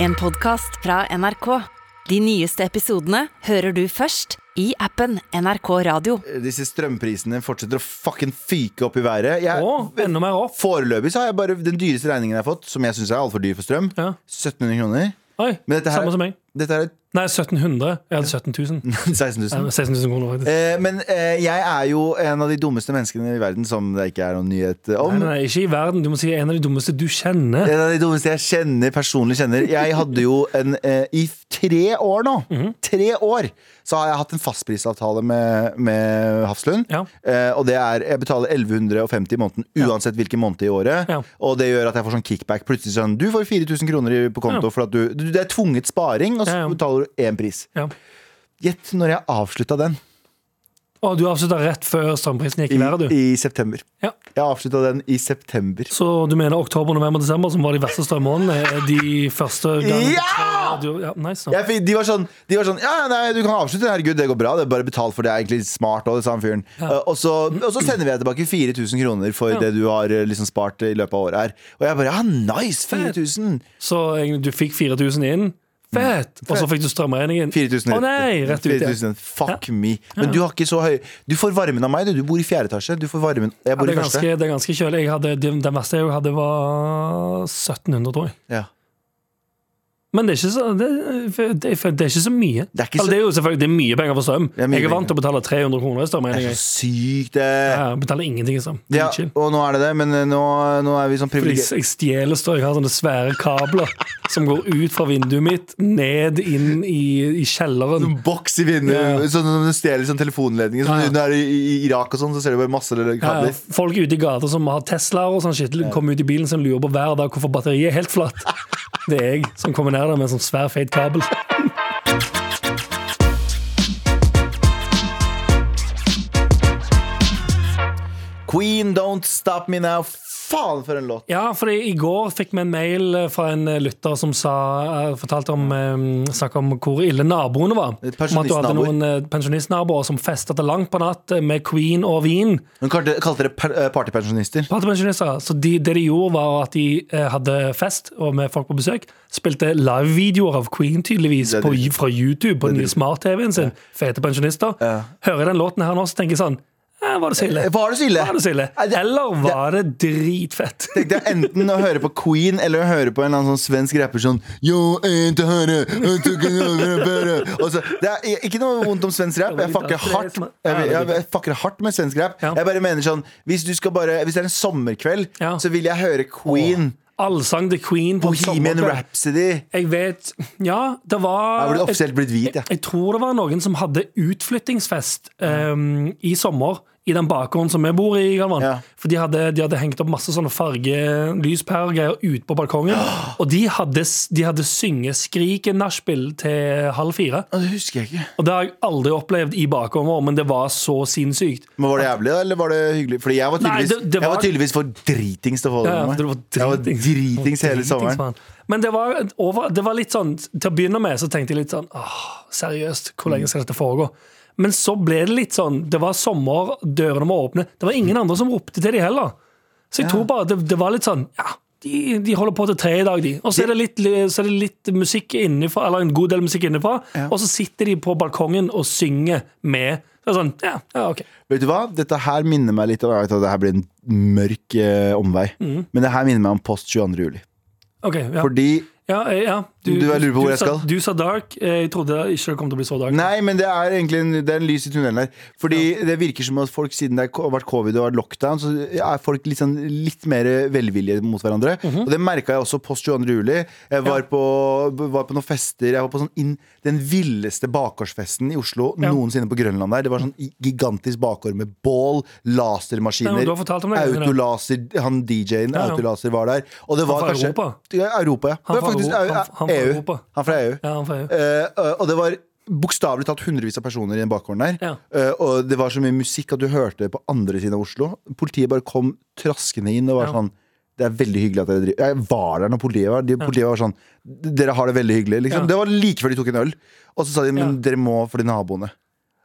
En podcast fra NRK. De nyeste episodene hører du først i appen NRK Radio. disse strømprisene fortsetter å fucking fyke opp i været. Jeg, Å, enda mer opp. Foreløpig så har jeg bare den dyreste regningen jeg har fått, som jeg syns er altfor dyr for strøm. Ja. 1700 kroner. Oi, Men dette her- samme som meg. Dette er Nei, 1700. Jeg hadde 17 000. 16 Nei, 000. 16 000 kroner, faktisk. Eh, men eh, jeg er jo en av de dummeste menneskene i verden som det ikke er noen nyhet om. Nei, nei, nei, ikke i verden. Du må si en av de dummeste du kjenner. En av de dummeste jeg kjenner, personlig kjenner. Jeg hadde jo en eh, I tre år nå, Mhm. tre år, så har jeg hatt en fastprisavtale med, med Hafslund. Ja. Eh, og det er Jeg betaler 1150 i måneden uansett hvilken måned i året. Ja. Og det gjør at jeg får sånn kickback. Plutselig sånn Du får 4000 kroner i- på konto, Ja. for at du, du Det er tvunget sparing, og så Ja, ja. betaler du én pris. Ja. Gjett når jeg avslutta den. Å, du avslutta rett før strømprisen gikk i været, du. I, i september. Ja. Jeg avslutta den i september. Så du mener oktober, november, desember, som var de verste strømmånedene, er de første gangene Ja! du, ja, nice, da. Jeg fikk, de, var sånn, de var sånn Ja, ja, nei, du kan avslutte. det, Herregud, det går bra. Det er bare betalt for det. er egentlig smart også, det samme fyren. Eh, og, så, og så sender vi deg tilbake 4000 kroner for det du har eh, liksom spart i løpet av året her. Og jeg bare ja, nice! 4000! Så egentlig, du fikk 4000 inn. Fett! Mm. Og så fikk du strømregningen. 4000 Å nei, rett ut igjen. 4000, Fuck me. Men du har ikke så høy Du får varmen av meg, du. Du bor i fjerde etasje. Du får varmen Jeg Ja, bor det, i er første. ganske, det er ganske kjølig. Jeg hadde, den den verste jeg hadde, var 1700, tror jeg. Ja. Men det er ikke så, det, det, det er ikke så mye. Det er ikke så- Eller, det er jo selvfølgelig det er mye penger for strøm. er mye Jeg er vant penger. til å betale 300 kroner i strøm. Det mener er Jeg så sykt, det. Jeg betaler ingenting i strøm. Det Ja, er chill. og nå er det det, men eh, nå, nå er vi sånn Fordi privilegerte. Jeg stjeler strøm. Jeg har sånne svære kabler som går ut fra vinduet mitt, ned inn i, i kjelleren. Sånn boks i vinduet. Ja, ja. Sånn som du stjeler sånn telefonledninger. Sånn, Ja, ja. Når du er i, i Irak og sånn, så ser du bare masse kabler. Ja, folk ute i gata som har Teslaer og sånn shit, kommer ut i bilen som lurer på hver dag hvorfor batteriet er helt flatt. Det er jeg som kommer ned der med en sånn svær, feit kabel. Queen, don't stop me now. Faen, for en låt. Ja, fordi i går fikk vi en mail eh, fra en lytter som sa, eh, fortalte om, eh, snakket om hvor ille naboene var. Om at du hadde Pensjonistnaboer. noen eh, pensjonistnaboer som festa til langt på natt eh, med Queen og vin. Hun kalte, kalte det per- eh, partypensjonister. Partipensjonister. Så de, det de gjorde, var at de eh, hadde fest og med folk på besøk. Spilte livevideoer av Queen, tydeligvis, Det er på, dritt. fra YouTube på den nye smart-TV-en sin. Fete pensjonister. Ja. Hører den låten her nå, så tenker jeg sånn eh, Var det så ille? Eh, var det så ille? Var det så ille? Nei, det- Eller var det dritfett? Tenkte jeg enten å høre på Queen eller å høre på en eller annen sånn svensk rapper sånn Yo, ain't a hare, I took an over a bear». Og så, Det er ikke noe vondt om svensk rap. Jeg fucker hardt Jeg, jeg, jeg fucker hardt med svensk rap. Jeg bare mener sånn Hvis, du skal bare, hvis det er en sommerkveld, Ja. så vil jeg høre Queen. Allsang til Queen på en Bohemian sommerkveld. Rhapsody. Jeg vet Ja, det Jeg var har blitt offisielt blitt hvit, jeg. Jeg tror det var noen som hadde utflyttingsfest ehm, i sommer i den bakgården som vi bor i. Galvan. Ja. For de hadde, de hadde hengt opp masse sånne fargelyspæregreier ute på balkongen. Og de hadde, s- de hadde syngeskrike-nachspiel til halv fire. Å, Det husker jeg ikke. Og det har jeg aldri opplevd i bakgården, men det var så sinnssykt. Men Var det jævlig, da, eller var det hyggelig? Fordi jeg var tydeligvis, Nei, det- det jeg var- var tydeligvis for dritings til å få det Ja, med ja, meg. det var jeg var dritings. dritings hele Dritings, sommeren. mann. Men det var, et over, det var litt sånn Til å begynne med så tenkte jeg litt sånn Åh, seriøst, Mm. hvor lenge skal dette foregå? Men så ble det litt sånn Det var sommer, dørene var åpne. Det var Mm. ingen andre som ropte til de heller. Så jeg tror bare det, det var litt sånn Ja, de, de holder på til tre i dag, de. Og så er det litt, så er det litt musikk innenfra, eller en god del musikk innenfra. Og så sitter de på balkongen og synger med. Så er det sånn, ja, ja, ok. Vet du hva? Dette her minner meg litt om Jeg vet at det her blir en mørk eh, omvei, men det her minner meg om post 22. juli. ok, ja. Fordi Ja, eh, ja. Du lurer på hvor jeg sa, skal? Du sa dark. Eh, Jeg trodde ikke det kom til å bli så dark. Nei, men det er egentlig en, det er en lys i tunnelen her. Fordi det virker som at folk siden det er ko- har vært covid og vært lockdown, så er folk litt, sånn, litt mer velvillige mot hverandre. Mhm. Og det merka jeg også post 22. juli. Jeg var, på, var på noen fester. Jeg var på sånn inn, den villeste bakgårdsfesten i Oslo Ja. noensinne på Grønland der. Det var sånn i- gigantisk bakgård med bål, Ja, lasermaskiner, men du har fortalt om det. autolaser Han DJ-en, Ja, ja. Autolaser, var der. Og det var fra kanskje Europa? Ja, Europa, ja. Han Det var fra faktisk Euro- EU. han- han fra EU. Europa. Han fra EU. Ja, han får jo. Eh, og det var bokstavelig talt hundrevis av personer i den bakgården der. Ja. Eh, og det var så mye musikk at du hørte det på andre siden av Oslo. Politiet bare kom traskende inn og var Ja. sånn det er veldig hyggelig at dere driver Jeg var der når politiet var. De, Politiet var sånn Dere har det veldig hyggelig. Liksom. Ja. Det var like før de tok en øl. Og så sa de men Ja. dere må for de naboene.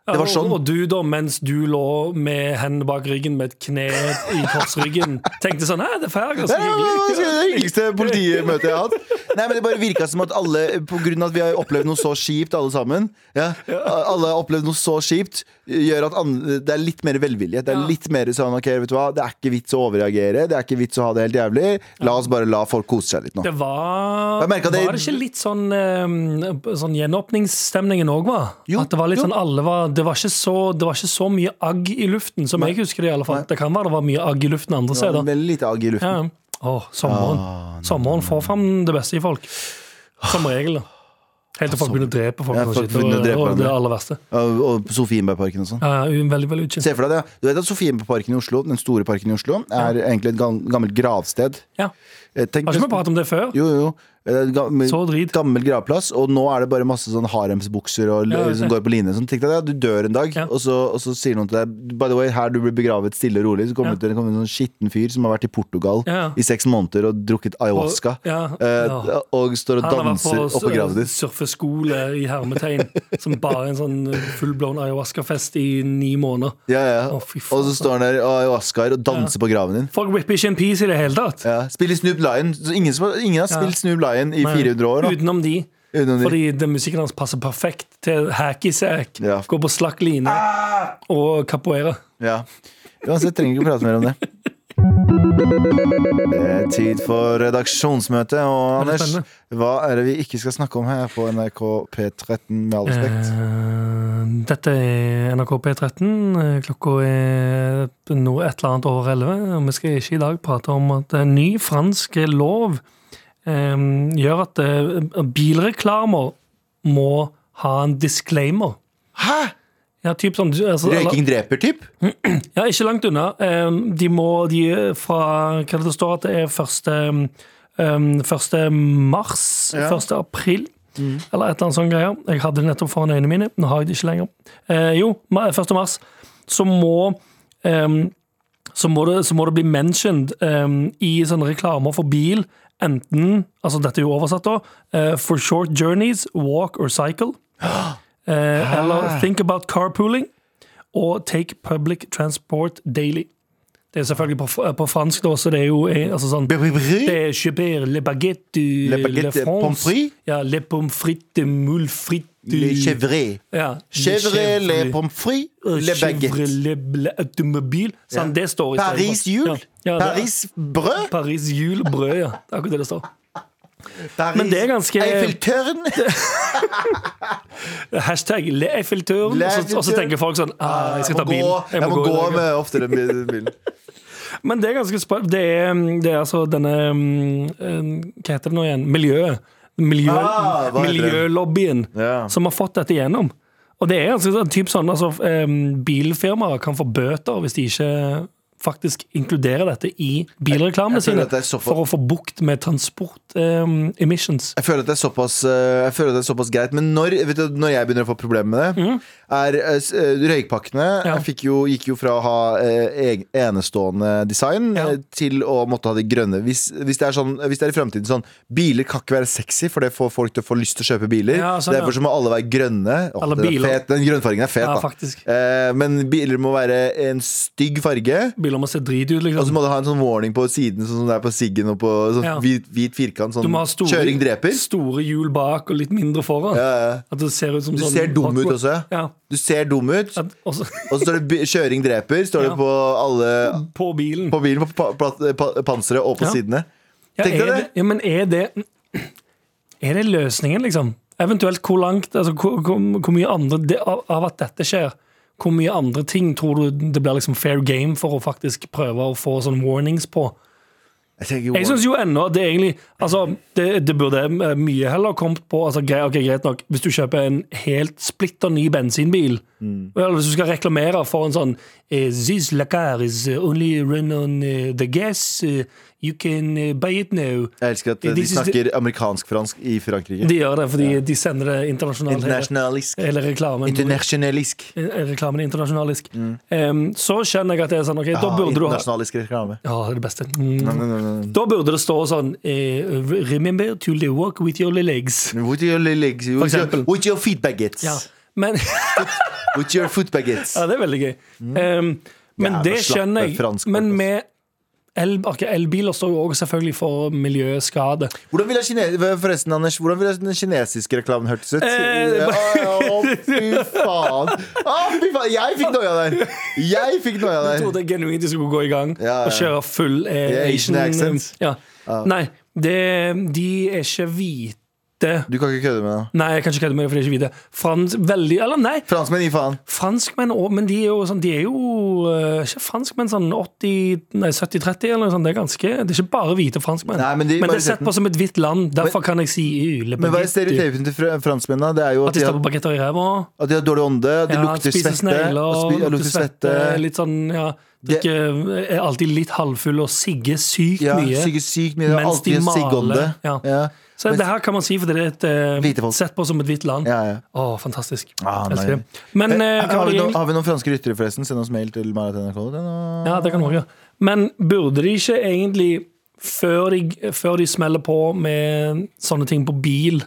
Det var sånn. Og, og du, da, mens du lå med hendene bak ryggen med et kne i korsryggen, tenkte sånn Hæ, det er fair, Det ganske er det hyggelig. er det hyggeligste politimøtet jeg har hatt. Nei, men Det bare virka som at alle, på grunn av at vi har opplevd noe så kjipt, alle sammen ja, Alle har opplevd noe så kjipt, gjør at an- det er litt mer velvilje. Det er litt mer sånn OK, vet du hva, det er ikke vits å overreagere. Det er ikke vits å ha det helt jævlig. La oss bare la folk kose seg litt nå. Det var Jeg merket det- Var det ikke litt sånn, eh, sånn gjenåpningsstemningen òg, var? Jo, At det var litt jo. sånn alle var det var, ikke så, det var ikke så mye agg i luften, som jeg husker det i alle fall. Det kan være det var mye agg i luften andre Det var steder. Veldig lite agg i Ja, luften. ja. Åh, sommeren. Ah, sommeren får fram det beste i folk. Som regel, da. Helt til folk begynner å drepe folk. Ja, og folk shit, og- begynner å drepe og det hverandre. aller verste. Og, og på Sofienbergparken og sånn. Ja, ja, veldig, veldig utkjent. Se for deg det. ja. Du vet at Sofienbergparken i Oslo, den store parken i Oslo, er egentlig et gam- gammelt gravsted. Ja. Eh, Tenk, Har ikke vi pratet om det før? Jo, jo, jo. Eh, det er gammel- Så drit. gammel gravplass, og nå er det bare masse sånn haremsbukser og, Ja, jeg som ser. går på line. Sånn, tenk deg det, du dør en dag, Ja. og, så, og så sier noen til deg By the way, her du blir begravet stille og rolig, så kommer Ja. det til kommer det en sånn skitten fyr som har vært i Portugal Ja, ja. i seks måneder og drukket ayahuasca, Og- ja, eh, ja. og står og Han har vært danser på oppå gravet sur- ditt. surfeskole i hermetegn, som bare en sånn fullblown ayahuasca-fest i ni måneder. Ja, ja. Å, fy faen. og så står han der og ayahuascaer og danser på graven din. Folk ripper ikke en piece i det hele tatt. Ja. Spiller Snoop Lion. Så Ingen, som, har- ingen har Ja. spilt Snoop Lion i 400 år. Da. Utenom de. Utenom de. Fordi den musikken hans passer perfekt til hacky-sack, Ja. Ah! gå på slakk line og capoeira. Ja. Uansett, trenger ikke prate mer om det. Det er tid for redaksjonsmøte, og Veldig Anders, spennende. hva er det vi ikke skal snakke om her på NRK P13, med all respekt? Eh, dette er NRK P13. Eh, Klokka er nå et eller annet over 11. og Vi skal ikke i dag prate om at en ny fransk lov eh, gjør at eh, bilreklamer må ha en disclaimer. Hæ?! Ja, typ sånn altså, eller- Røyking dreper, typ? Ja, ikke langt unna. Ehm, De må de er fra Hva er det det står at det er første ehm, Første mars? Ja. Første april? Eller et eller annet sånt greier. Jeg hadde det nettopp foran øynene mine. Nå har jeg det ikke lenger. Eh, jo, ma- 1. mars. Så må ehm, så må, det, så må det bli mentioned ehm, i sånne reklamer for bil. Enten Altså, dette er jo oversatt, da. eh, for short journeys, walk or cycle. Eh, eller think about carpooling og take public transport daily. Det er selvfølgelig på, f- eh, på fransk, da, så det er jo eh, altså sånn det er Chabert, le baguette, Le baguette, pommes frites. Ja, le pommes frites, de moules frites Le chevre. ja, le Chevre, le chèvre, pommes frites, le eh, chèvre, baguette. le bla- automobil. Sånn, Ja. det står i stedet. Paris jul. Ja. Ja, det- Paris brød. Paris jul, brød, ja. Det er akkurat det det står. Paris Men det er ganske- Eiffeltørn. Hashtag le Eiffeltøren. Le Og så- og så Eiffeltøren. tenker folk sånn ah, Jeg skal ta må gå, bilen. jeg må gå i dag, ja. med oftere med bilen. Men det er ganske spennende. Det, er- det er altså denne mm, eh, Hva heter det nå igjen? Miljøet. Miljø, Ah, hva heter det? miljølobbyen Ja. som har fått dette igjennom. Og det er ganske sånn- typ sånn altså, eh, Bilfirmaer kan få bøter hvis de ikke faktisk inkluderer dette i bilreklamene Jeg- jeg føler sine at det er så for- for å få bukt med transport eh, emissions. Jeg føler at det er såpass, eh, jeg føler at det er såpass greit. Men når, vet du, når jeg begynner å få problemer med det, er eh, s- eh, røykpakkene Mhm. Ja. jeg fikk jo, gikk jo fra å ha eh, eg- enestående design Ja. eh, til å måtte ha de grønne. Hvis, hvis, det er sånn, hvis det er i fremtiden sånn Biler kan ikke være sexy, for det får folk til å få lyst til å kjøpe biler. Ja, sånn, Derfor ja. så må alle være grønne. Åh, Alle den, er biler. fet. den grønnfargen er fet, Ja, da. faktisk. Eh, men biler må være en stygg farge. Biler må se drit ut, Og så liksom. må du ha en sånn warning på siden, sånn som det er på Siggen. Og på sånn Ja. hvit, hvit firkant. Du Sånn må ha store, kjøring dreper. store hjul bak og litt mindre foran. Ja, ja. At det ser ut som Du sånn ser dum ut Hot Rod- også. Ja. Du ser dum ut. At, også, Og så står det by- 'kjøring dreper' Står Ja. det på alle på bilen. På bilen, på pa- pla- eh, pa- panseret og på Ja. sidene. Ja, Tenk deg er det. Ja, men er det Er det løsningen, liksom? Eventuelt hvor langt altså, hvor, hvor, hvor mye andre det, av, av at dette skjer, hvor mye andre ting tror du det blir liksom fair game for å faktisk prøve å få sånne warnings på? Jeg tenker, Jeg syns jo ennå at det egentlig Altså, det, det burde eh, mye heller kommet på altså, grei, ok, Greit nok, hvis du kjøper en helt splitter ny bensinbil, eller hvis du skal reklamere for en sånn eh, This lacar is only run on eh, the gas. eh, You can eh, buy it now. jeg elsker at eh, de This is snakker amerikansk-fransk i Frankrike. De Eh, gjør det fordi de sender det internasjonalt. hele- Internasjonalisk. Hele reklamen Eh, Internasjonalisk. Reklamen er internasjonalisk. Em, så skjønner jeg at det er sånn Ok, da Mm. Ja, burde du ha internasjonalisk reklame. Ja, det er det beste. Mm. Nei, nei, nei, nei. Da burde det stå sånn eh, Remember to walk with your legs. With your legs, with your- eksempel. with your feet baguettes. Ja. Men With your foot baguettes. Ja, det er veldig gøy. Um, men Mm. Jævla det slappe skjønner jeg. franskfolk, Men ass. med el, ok, elbiler står jo også selvfølgelig for miljøskade. Hvordan ville kine- Forresten, Anders, hvordan ville den kinesiske reklamen hørtes ut? Eh, Å, fy faen! Å, fy faen! Jeg fikk noia der! Jeg fikk noia Jeg der. trodde genuint de skulle gå i gang Eh. Ja, ja. og kjøre full eh, Ja, Asian Asian eh, accent. Ja. Nei, det, de er ikke hvite. Du kan ikke kødde med det. Nei, jeg kan ikke kødde med det, for de er ikke hvite. Frans, veldig, eller nei, Franskmenn, gi faen. franskmenn òg, men de er jo sånn De er jo eh, ikke franskmenn sånn 80, nei, 70-30 eller noe sånt. Det er ganske Det er ikke bare hvite franskmenn. Nei, men de- det er sett på som et hvitt land. Derfor kan jeg si le Men hva er baguette. stereotypen til fr- franskmennene? Det er jo At at de de står har, på bagetter i ræva. at de har dårlig ånde, de Ja, lukter spiser svette. snegler og og spi- ja, lukter svette. Litt sånn, ja. Det- Drikker, er alltid litt halvfull og sigger sykt Ja, mye. sykt sykt mye. Mens de Alltid en siggånde. maler, ja. Ja. Så det her kan man si, for det er et, Hvite eh, folk. sett på som et hvitt land. Ja, ja. Å, fantastisk. Ah, nei. Elsker det. Men eh, Eh, hva har, var vi det noen, egentlig- har vi noen franske ryttere, forresten? Send oss mail til maraton.nrk. Ja, det kan du også gjøre. Men burde de ikke egentlig, før de, før de smeller på med sånne ting på bil,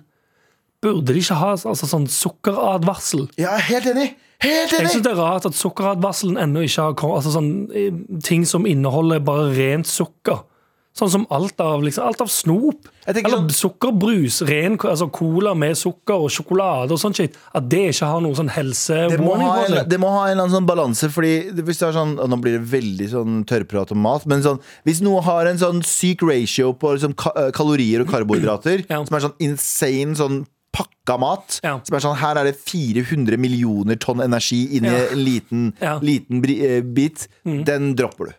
burde de ikke ha altså, sånn sukkeradvarsel? Ja, helt enig! Helt Jeg enig! syns det er rart at sukkeradvarselen ennå ikke har kommet. Altså sånn eh, ting som inneholder bare rent sukker. Sånn som alt av, liksom, alt av snop. Jeg tenker Eller sånn- sukkerbrus. Ren ko- altså cola med sukker og sjokolade og sånn shit. At det ikke har noe sånn Det må, helse-warning ha på en, seg. det må ha en eller annen sånn balanse, Fordi det- hvis det er sånn og Nå blir det veldig sånn tørrprat om mat, men sånn, hvis noe har en sånn syk ratio på liksom, ka eh, kalorier og karbohydrater, Ja. som er sånn insane sånn pakka mat, Ja. som er sånn her er det 400 millioner tonn energi inni Ja. en liten, Ja. Mm. liten bri- eh, bit, den dropper du.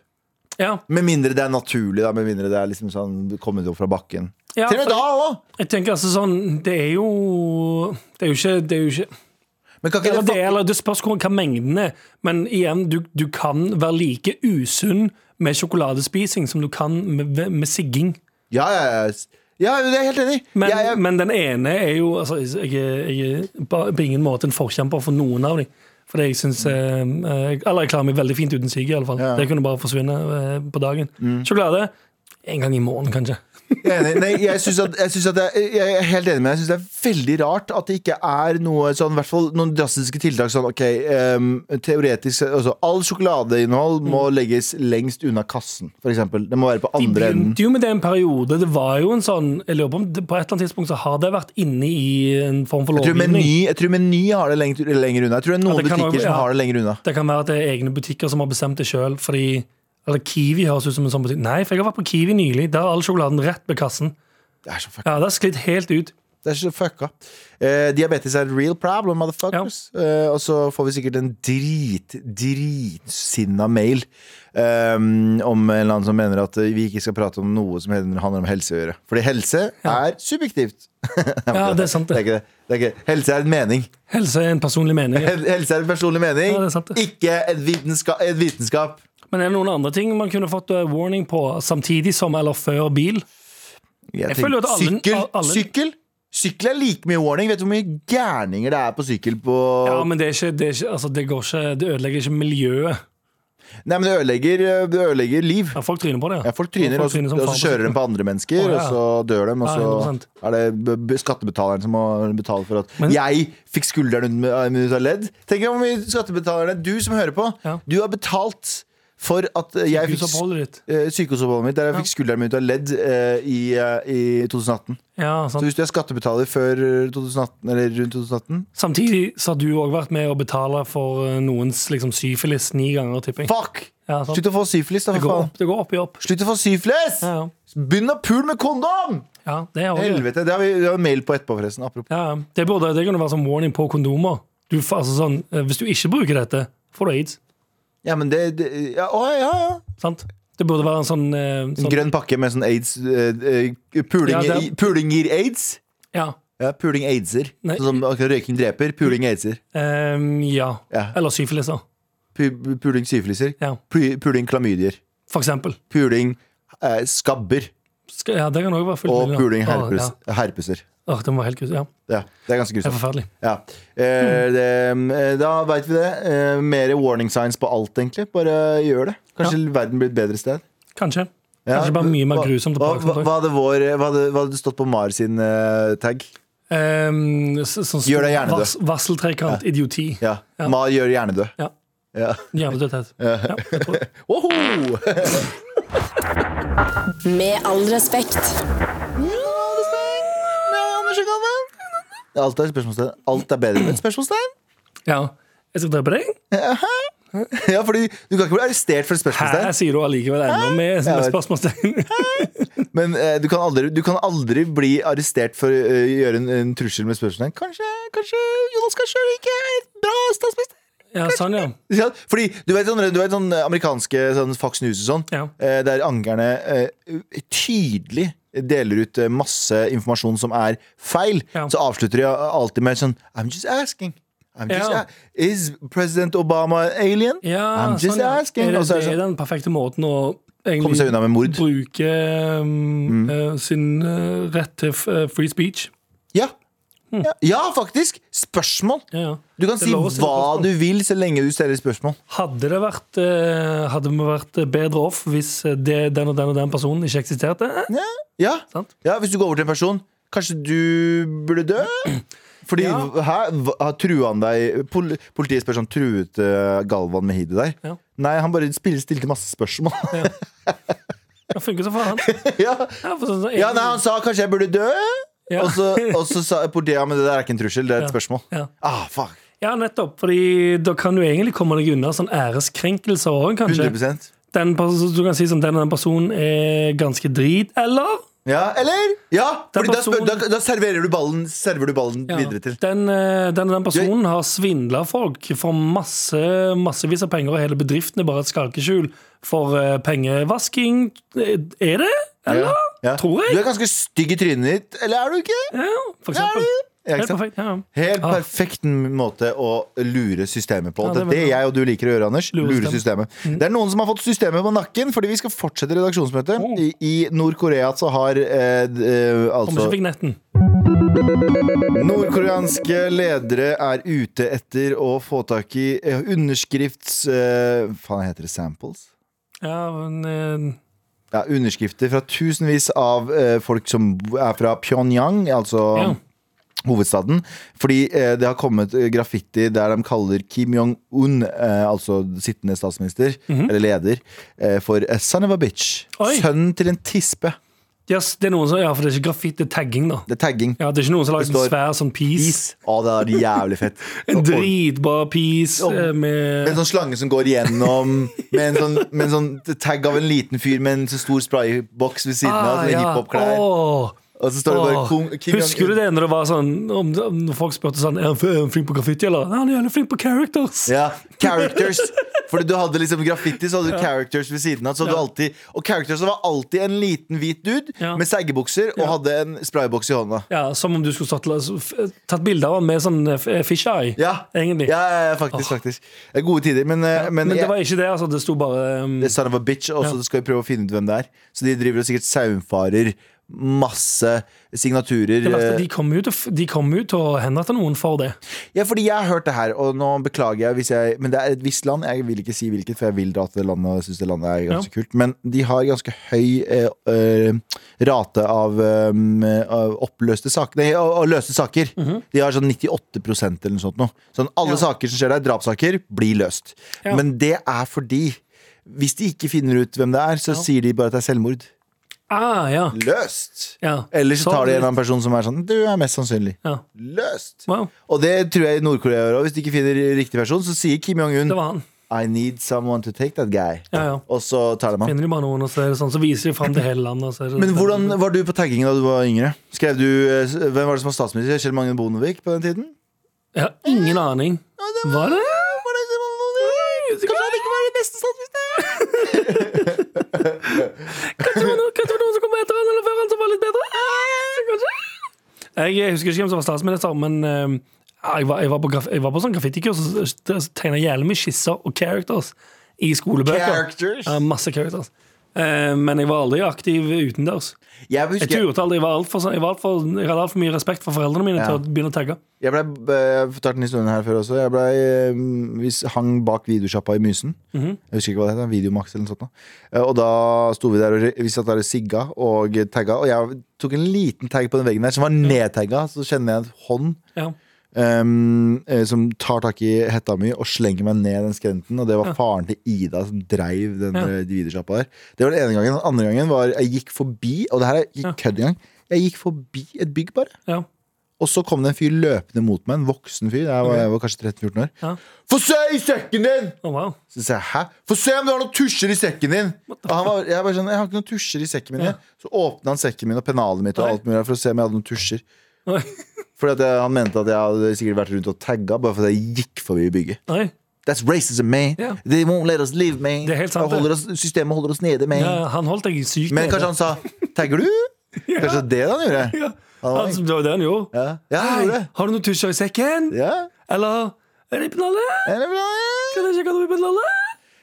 Ja, Med mindre det er naturlig, da. Med mindre det er liksom sånn kommet opp fra bakken. ja, Til og med for- da òg! Jeg tenker altså sånn Det er jo Det er jo ikke, det er jo ikke Men kan eller ikke det, det eller det spørs hvor- hva mengden er. Men igjen, du, du kan være like usunn med sjokoladespising som du kan med, med sigging. Ja, ja, ja. ja det er jeg helt enig i. Men, Jeg- jeg- men den ene er jo altså, jeg, er- jeg er på på ingen måte en forkjemper for noen av dem. Fordi jeg synes, eh, eh, Eller jeg klarer meg veldig fint uten sigg, i alle fall. Ja. Det kunne bare forsvinne eh, på dagen. Sjokolade en gang i måneden, kanskje. Jeg er enig. Nei, jeg, synes at, jeg, synes at det er- jeg er helt enig med deg. Jeg syns det er veldig rart at det ikke er noe sånn, i hvert fall noen drastiske tiltak sånn OK, ehm, teoretisk altså, All sjokoladeinnhold Mm. må legges lengst unna kassen, f.eks. Det må være på De andre enden. begynte jo med det en periode. Det var jo en sånn Jeg lurer på om det, på et eller annet tidspunkt så har det vært inne i en form for Jeg tror lovgivning. Meny- jeg tror Meny har det lengt, lenger unna. Jeg tror det er noen Ja, det kan butikker også- som ja. har det lenger unna. Det kan være at det er egne butikker som har bestemt det sjøl. Eller Kiwi høres ut som en sånn butikk. Nei, for jeg har vært på Kiwi nylig. Der er all sjokoladen rett ved kassen. Det er så fucka. Ja, Det har sklidd helt ut. Det er så fucka. Eh, diabetes er et real problem, motherfuckers. Eh, og så får vi sikkert en drit, dritsinna mail eh, om en eller annen som mener at eh, vi ikke skal prate om noe som handler om helse å gjøre. Fordi helse er subjektivt. Ja, det er sant, Det er det. ikke det. det er ikke det. Helse er en mening. Helse er en personlig mening. Hel- Helse er en personlig mening, Ja, det er sant, det. ikke et vitenskap. Et vitenskap. Men er det noen andre ting man kunne fått eh, warning på samtidig som eller før bil? Jeg føler jo tenker- at alle- sykkel, alle- sykkel Sykkel er like mye warning. Vet du hvor mye gærninger det er på sykkel på Ja, men det, er ikke, det, er ikke, altså, det går ikke Det ødelegger ikke miljøet. Nei, men det ødelegger, det ødelegger liv. Ja, folk tryner på det. Ja, folk tryner, Folk og så, tryner som og så faen på kjører de sykkel. på andre mennesker, Å, ja. og så dør de, og Ja, så 100%. er det b- b- skattebetaleren som må betale for at Men- jeg fikk skulderen ut med- ut av ledd. Tenk om vi skattebetalerne, du som hører på, Ja. du har betalt for at jeg fikk s- Husoppholdet ditt. eh, sykehusoppholdet mitt der jeg fikk skulderen min ut av ledd eh, i, eh, i 2018. Ja, sant. Så hvis du er skattebetaler før 2018, eller rundt 2018 Samtidig så har du òg vært med å betale for eh, noens liksom, syfilis ni ganger, tipper jeg. Fuck! Ja, sant. Slutt å få syfilis, da, Sånn. Det for går faen. opp, det går opp i opp. Slutt å få syfilis! Ja, ja. Begynn å pule med kondom! ja det er også det. Helvete. Det har vi det har vi mail på etterpå, forresten. Apropos. Ja, ja. det, burde, det kunne være som warning på kondomer. Du, får- altså, sånn, eh, hvis du ikke bruker dette, får du aids. Ja, men det, det ja, Å, ja, ja. Sant? Det burde være en sånn, eh, En sånn grønn pakke med sånn aids eh, eh, puling, Ja, det er- i- puling gir aids? Ja. Ja, puling aidser. Nei. Sånn som akkurat røyking dreper. Puling aidser. Ehm, ja. Ja. Eller syfiliser, Pu- Puling syfiliser. Ja. Pu- Puling klamydier. for eksempel. Puling eh, skabber. Skal, ja, det kan også være fullt Og mulig, da. puling Åh, herpes, ja. herpeser. Åh, den var helt grusom. Ja. Ja, det er ganske Det er grusomt. forferdelig. Ja. Eh, det, eh, da veit vi det. Eh, Mer warning signs på alt, egentlig. Bare gjør det. Kanskje verden blir et bedre sted. Kanskje. Ja. Kanskje bare mye mer Hva- grusomt. og Hva, plagsomt hva, også. hva hadde vår- hva hadde- hva hadde stått på Mar sin eh, tag? ehm, så- sånn Gjør deg gjerne vas- Varseltrekant, idioti. Ja. Ma gjør hjernedød. Ja. Ja. Hjernedødhet. Ja, jeg tror det. Woho! Med all respekt. Alt er et spørsmålstegn. Alt er bedre med et spørsmålstegn. ja. Jeg skal drepe deg. Ja, fordi Du kan ikke bli arrestert for et Her spørsmålstegn, sier du allikevel ennå Jeg med med vet. spørsmålstegn. men eh, du, kan aldri, du kan aldri bli arrestert for eh, å gjøre en, en trussel med spørsmålstegn. Kanskje, kanskje Jonas Gahr Støre ikke er et bra statsminister? Ja, sånn, ja. Ja, fordi du vet, sånne, du vet sånne amerikanske sånn Fox News og sånn, Ja. eh, der angerne eh, tydelig deler ut eh, masse informasjon som er feil, Ja. så avslutter de alltid med sånn I'm just asking. I'm just Ja. a- Is President Obama an alien? ja I'm just sånn, ja. asking. Er det, Og så er det det er den perfekte måten å egentlig Komme seg unna Mm. med mord. bruke ehm, eh, sin eh, rett til f- eh, free speech. Ja. Ja, ja, faktisk! Spørsmål! Ja, ja. Du kan Hmm. Det er si lov å stille hva spørsmål. du vil, så lenge du stiller spørsmål. Hadde det vært eh, Hadde vi vært bedre off hvis eh, det, den og den og den personen ikke eksisterte? Eh, Ja. Ja. Sant. ja, Hvis du går over til en person Kanskje du burde dø? Fordi Ja. her hva- har trua han deg pol Politiet spør sånn Truet eh, Galvan med hidet der? Ja. Nei, han bare spiller stilte masse spørsmål. Det funker som faen. Ja, ja. for sånn, sånn, ja, nei, han sa kanskje jeg burde dø. Ja. Og, så, og så sa politiet ja, men det der er ikke en trussel, det er et Ja. spørsmål. Ja. Ah, fuck. Ja, nettopp. Fordi da kan du egentlig komme deg unna sånn æreskrenkelser òg, kanskje. 100 Den personen, du kan si sånn, den og den personen er ganske drit, eller? Ja, eller? Ja, Den fordi da, spør, da, personen- da serverer du ballen, server du ballen Ja. videre til. Den, eh, den og den personen har svindla folk for masse, massevis av penger, og hele bedriften er bare et skalkeskjul for eh, pengevasking. Eh, Er det? Eller? Ja. Tror Du jeg. er ganske stygg i trynet ditt, eller er du ikke? Ja, for Ja, er eksempel. du? Ja, ikke Helt sant? perfekt. Ja. Helt Ah. perfekt måte å lure systemet på. Ja, det er det er det veldig bra. jeg og du liker å gjøre, Anders. Lure Mm. Lure systemet. Det er noen som har fått systemet på nakken, fordi vi skal fortsette redaksjonsmøtet. I, i Nord-Korea så har eh, d- eh, Oh. Kommer altså ikke vignetten. Nordkoreanske ledere er ute etter å få tak i eh, underskrifts... Eh, faen, heter det samples? Ja, men eh, Ja, underskrifter fra tusenvis av eh, folk som er fra Pyongyang, altså ja. hovedstaden. Fordi eh, det har kommet eh, graffiti der de kaller Kim Jong-un, eh, altså sittende statsminister, eller leder, eh, for a son of a bitch. Mhm. Oi. Sønnen til en tispe. Yes, det er noen som, ja, for det er ikke grafitt, det er tagging, da. Det er tagging. Ja, Det er ikke noen som har Det lagd en står svær sånn piece. Is. Å, det er jævlig fett. En Og- og- dritbra piece Og- eh, Med en med sånn slange som går igjennom, med en sånn, med en sånn tagg av en liten fyr med en så stor sprayboks ved siden av, sånne hiphop-klær. Ah, Åh, Og så står det bare åh. Kong- Kim Husker du Jong-un. det når det var sånn om, om folk spurte sånn Er han f- er han flink på graffiti, eller? Nei, han er jævlig flink på characters. Ja, characters Fordi du hadde liksom graffiti, så hadde du characters ved siden av Så hadde du alltid, og characters var alltid en liten hvit dude Ja. Med seggebukser og hadde en sprayboks i hånda Ja, Som om du skulle stått, f- tatt bilde av han med sånn eh, f- eh, fisheye. Ja, Egentlig. ja, ja, ja, faktisk, faktisk Det er Gode tider, men, eh, men, Men det jeg- var ikke det. altså Det sto bare um, det er son of a bitch Og så skal vi prøve å finne ut hvem det er Så de driver og sikkert saumfarer Masse signaturer det verste, eh, De kom jo til f- de kom jo til å henrette noen for det. Ja, fordi jeg har hørt det her, og nå beklager jeg, hvis jeg Men det er et visst land, jeg vil ikke si hvilket, for jeg vil dra til det landet, og jeg syns det landet er ganske kult. Men de har ganske høy eh, eh, rate av, eh, av oppløste saker Nei, av, av løste saker. De har sånn 98 eller noe sånt noe. Sånn alle saker som skjer der, drapssaker, blir løst. Ja. Men det er fordi hvis de ikke finner ut hvem det er, så sier de bare at det er selvmord. Ah, ja. Løst! ja. Eller så tar de en eller litt- annen person som er sånn Du er mest sannsynlig ja. løst. Wow. Og det tror jeg Nord-Korea gjør også. Hvis de ikke finner riktig person, så sier Kim Jong-un Det var han. I need someone to take that guy. Ja, ja. Og så tar de han. Finner de bare noen, og så, er det sånn, så viser de fram til hele landet. Og så er det sånn- Men hvordan var du på taggingen da du var yngre? Skrev du, eh, s- Hvem var det som var statsminister? Kjell Magne Bondevik på den tiden? Jeg har ingen aning. Var det? Kanskje han ikke var den beste statsministeren? Kanskje det var noen, kanskje det var noen som kom etter han eller før han som var litt bedre? Kanskje? Jeg husker ikke hvem som var statsminister, men eh, jeg, var, jeg, var på graf, jeg var på sånn graffitikurs og tegna jævlig mye skisser og characters i skolebøker. Characters? Ja, masse characters. Eh, Eh, Men jeg var aldri aktiv utendørs. Jeg, Jeg husker, turte aldri. Jeg, var alt for, sånn, jeg, var alt for, jeg hadde altfor mye respekt for foreldrene mine til å begynne å tagge. jeg ble, eh, jeg fortalte den historien her før også. Jeg ble, eh, vi hang bak videosjappa i Mysen. Mhm. Jeg husker ikke hva det heter. Videomax eller noe sånt. nå. Eh, Og da sto vi der og vi satt der og sigga og tagga. Og jeg tok en liten tagg på den veggen der som var nedtagga. Så kjenner jeg en hånd Ja. ehm, eh, som tar tak i hetta mi og slenger meg ned den skrenten. Og det var faren til Ida som dreiv den Ja. eh, videosjappa der. Det var den ene gangen. Den andre gangen var jeg gikk forbi, og det her er Ja. ikke kødd engang. Jeg gikk forbi et bygg, bare. Ja. Og så kom det en fyr løpende mot meg, en voksen fyr. Jeg var, jeg var kanskje 13-14 år. Ja. Få se i sekken din! Å, wow. Så sa jeg, hæ? Få se om du har noen tusjer i sekken din! Og han var, jeg bare sånn, jeg har ikke noen tusjer i sekken min. jeg». Så åpna han sekken min og pennalet mitt og Oi. alt mulig for å se om jeg hadde noen tusjer. Oi. Fordi at jeg, han mente at jeg hadde sikkert vært rundt og tagga bare fordi jeg gikk forbi bygget. Nei. That's racism, man. Ja. They won't let us live, man. Det er helt sant, Jeg holder oss, systemet holder oss nede, man. Ja, han holdt deg sykt Men nede. kanskje han sa 'tagger du?' Kanskje det var det han gjorde? ja. Han var- han, Det var det han gjorde. Ja, ja han gjorde Hei, det. har du noen tusjer i sekken? Ja. Eller Er det pennalle? Er det bra? Kan jeg sjekke om det er pennalle?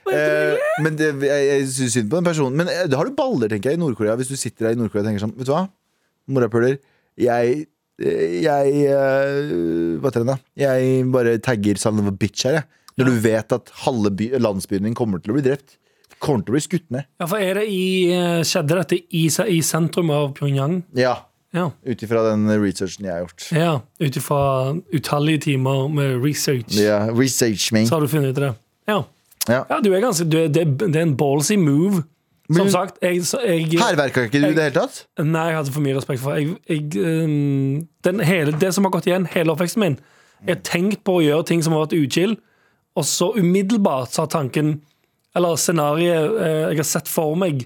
Hva heter det egentlig? Eh, men det, jeg, jeg syns synd på den personen. Men eh, da har du baller, tenker jeg, i Nord-Korea. Hvis du sitter der i Nord-Korea og tenker sånn, vet du hva, morapuler, jeg eh, jeg eh, Hva heter den, da? Jeg bare tagger son of a bitch her, jeg. Når du vet at halve by, landsbyen din kommer til å bli drept. Kommer til å bli skutt ned. Ja, for er det i, eh, skjedde dette i, se- i sentrum av Pyongyang? Ja. Ja. Ut ifra den researchen jeg har gjort. ja Ut ifra utallige timer med research, Ja, research me. så har du funnet ut det. Ja. Ja. ja, du er ganske du, er- det, er- det er en ballsy move. Som Men- sagt, jeg, så jeg Hærverka ikke du i det hele tatt? Nei, jeg hadde for mye respekt for jeg, jeg, ehm, den hele, Det som har gått igjen hele oppveksten min Jeg har tenkt på å gjøre ting som har vært utkild Og så umiddelbart så har tanken Eller scenariet eh, Jeg har sett for meg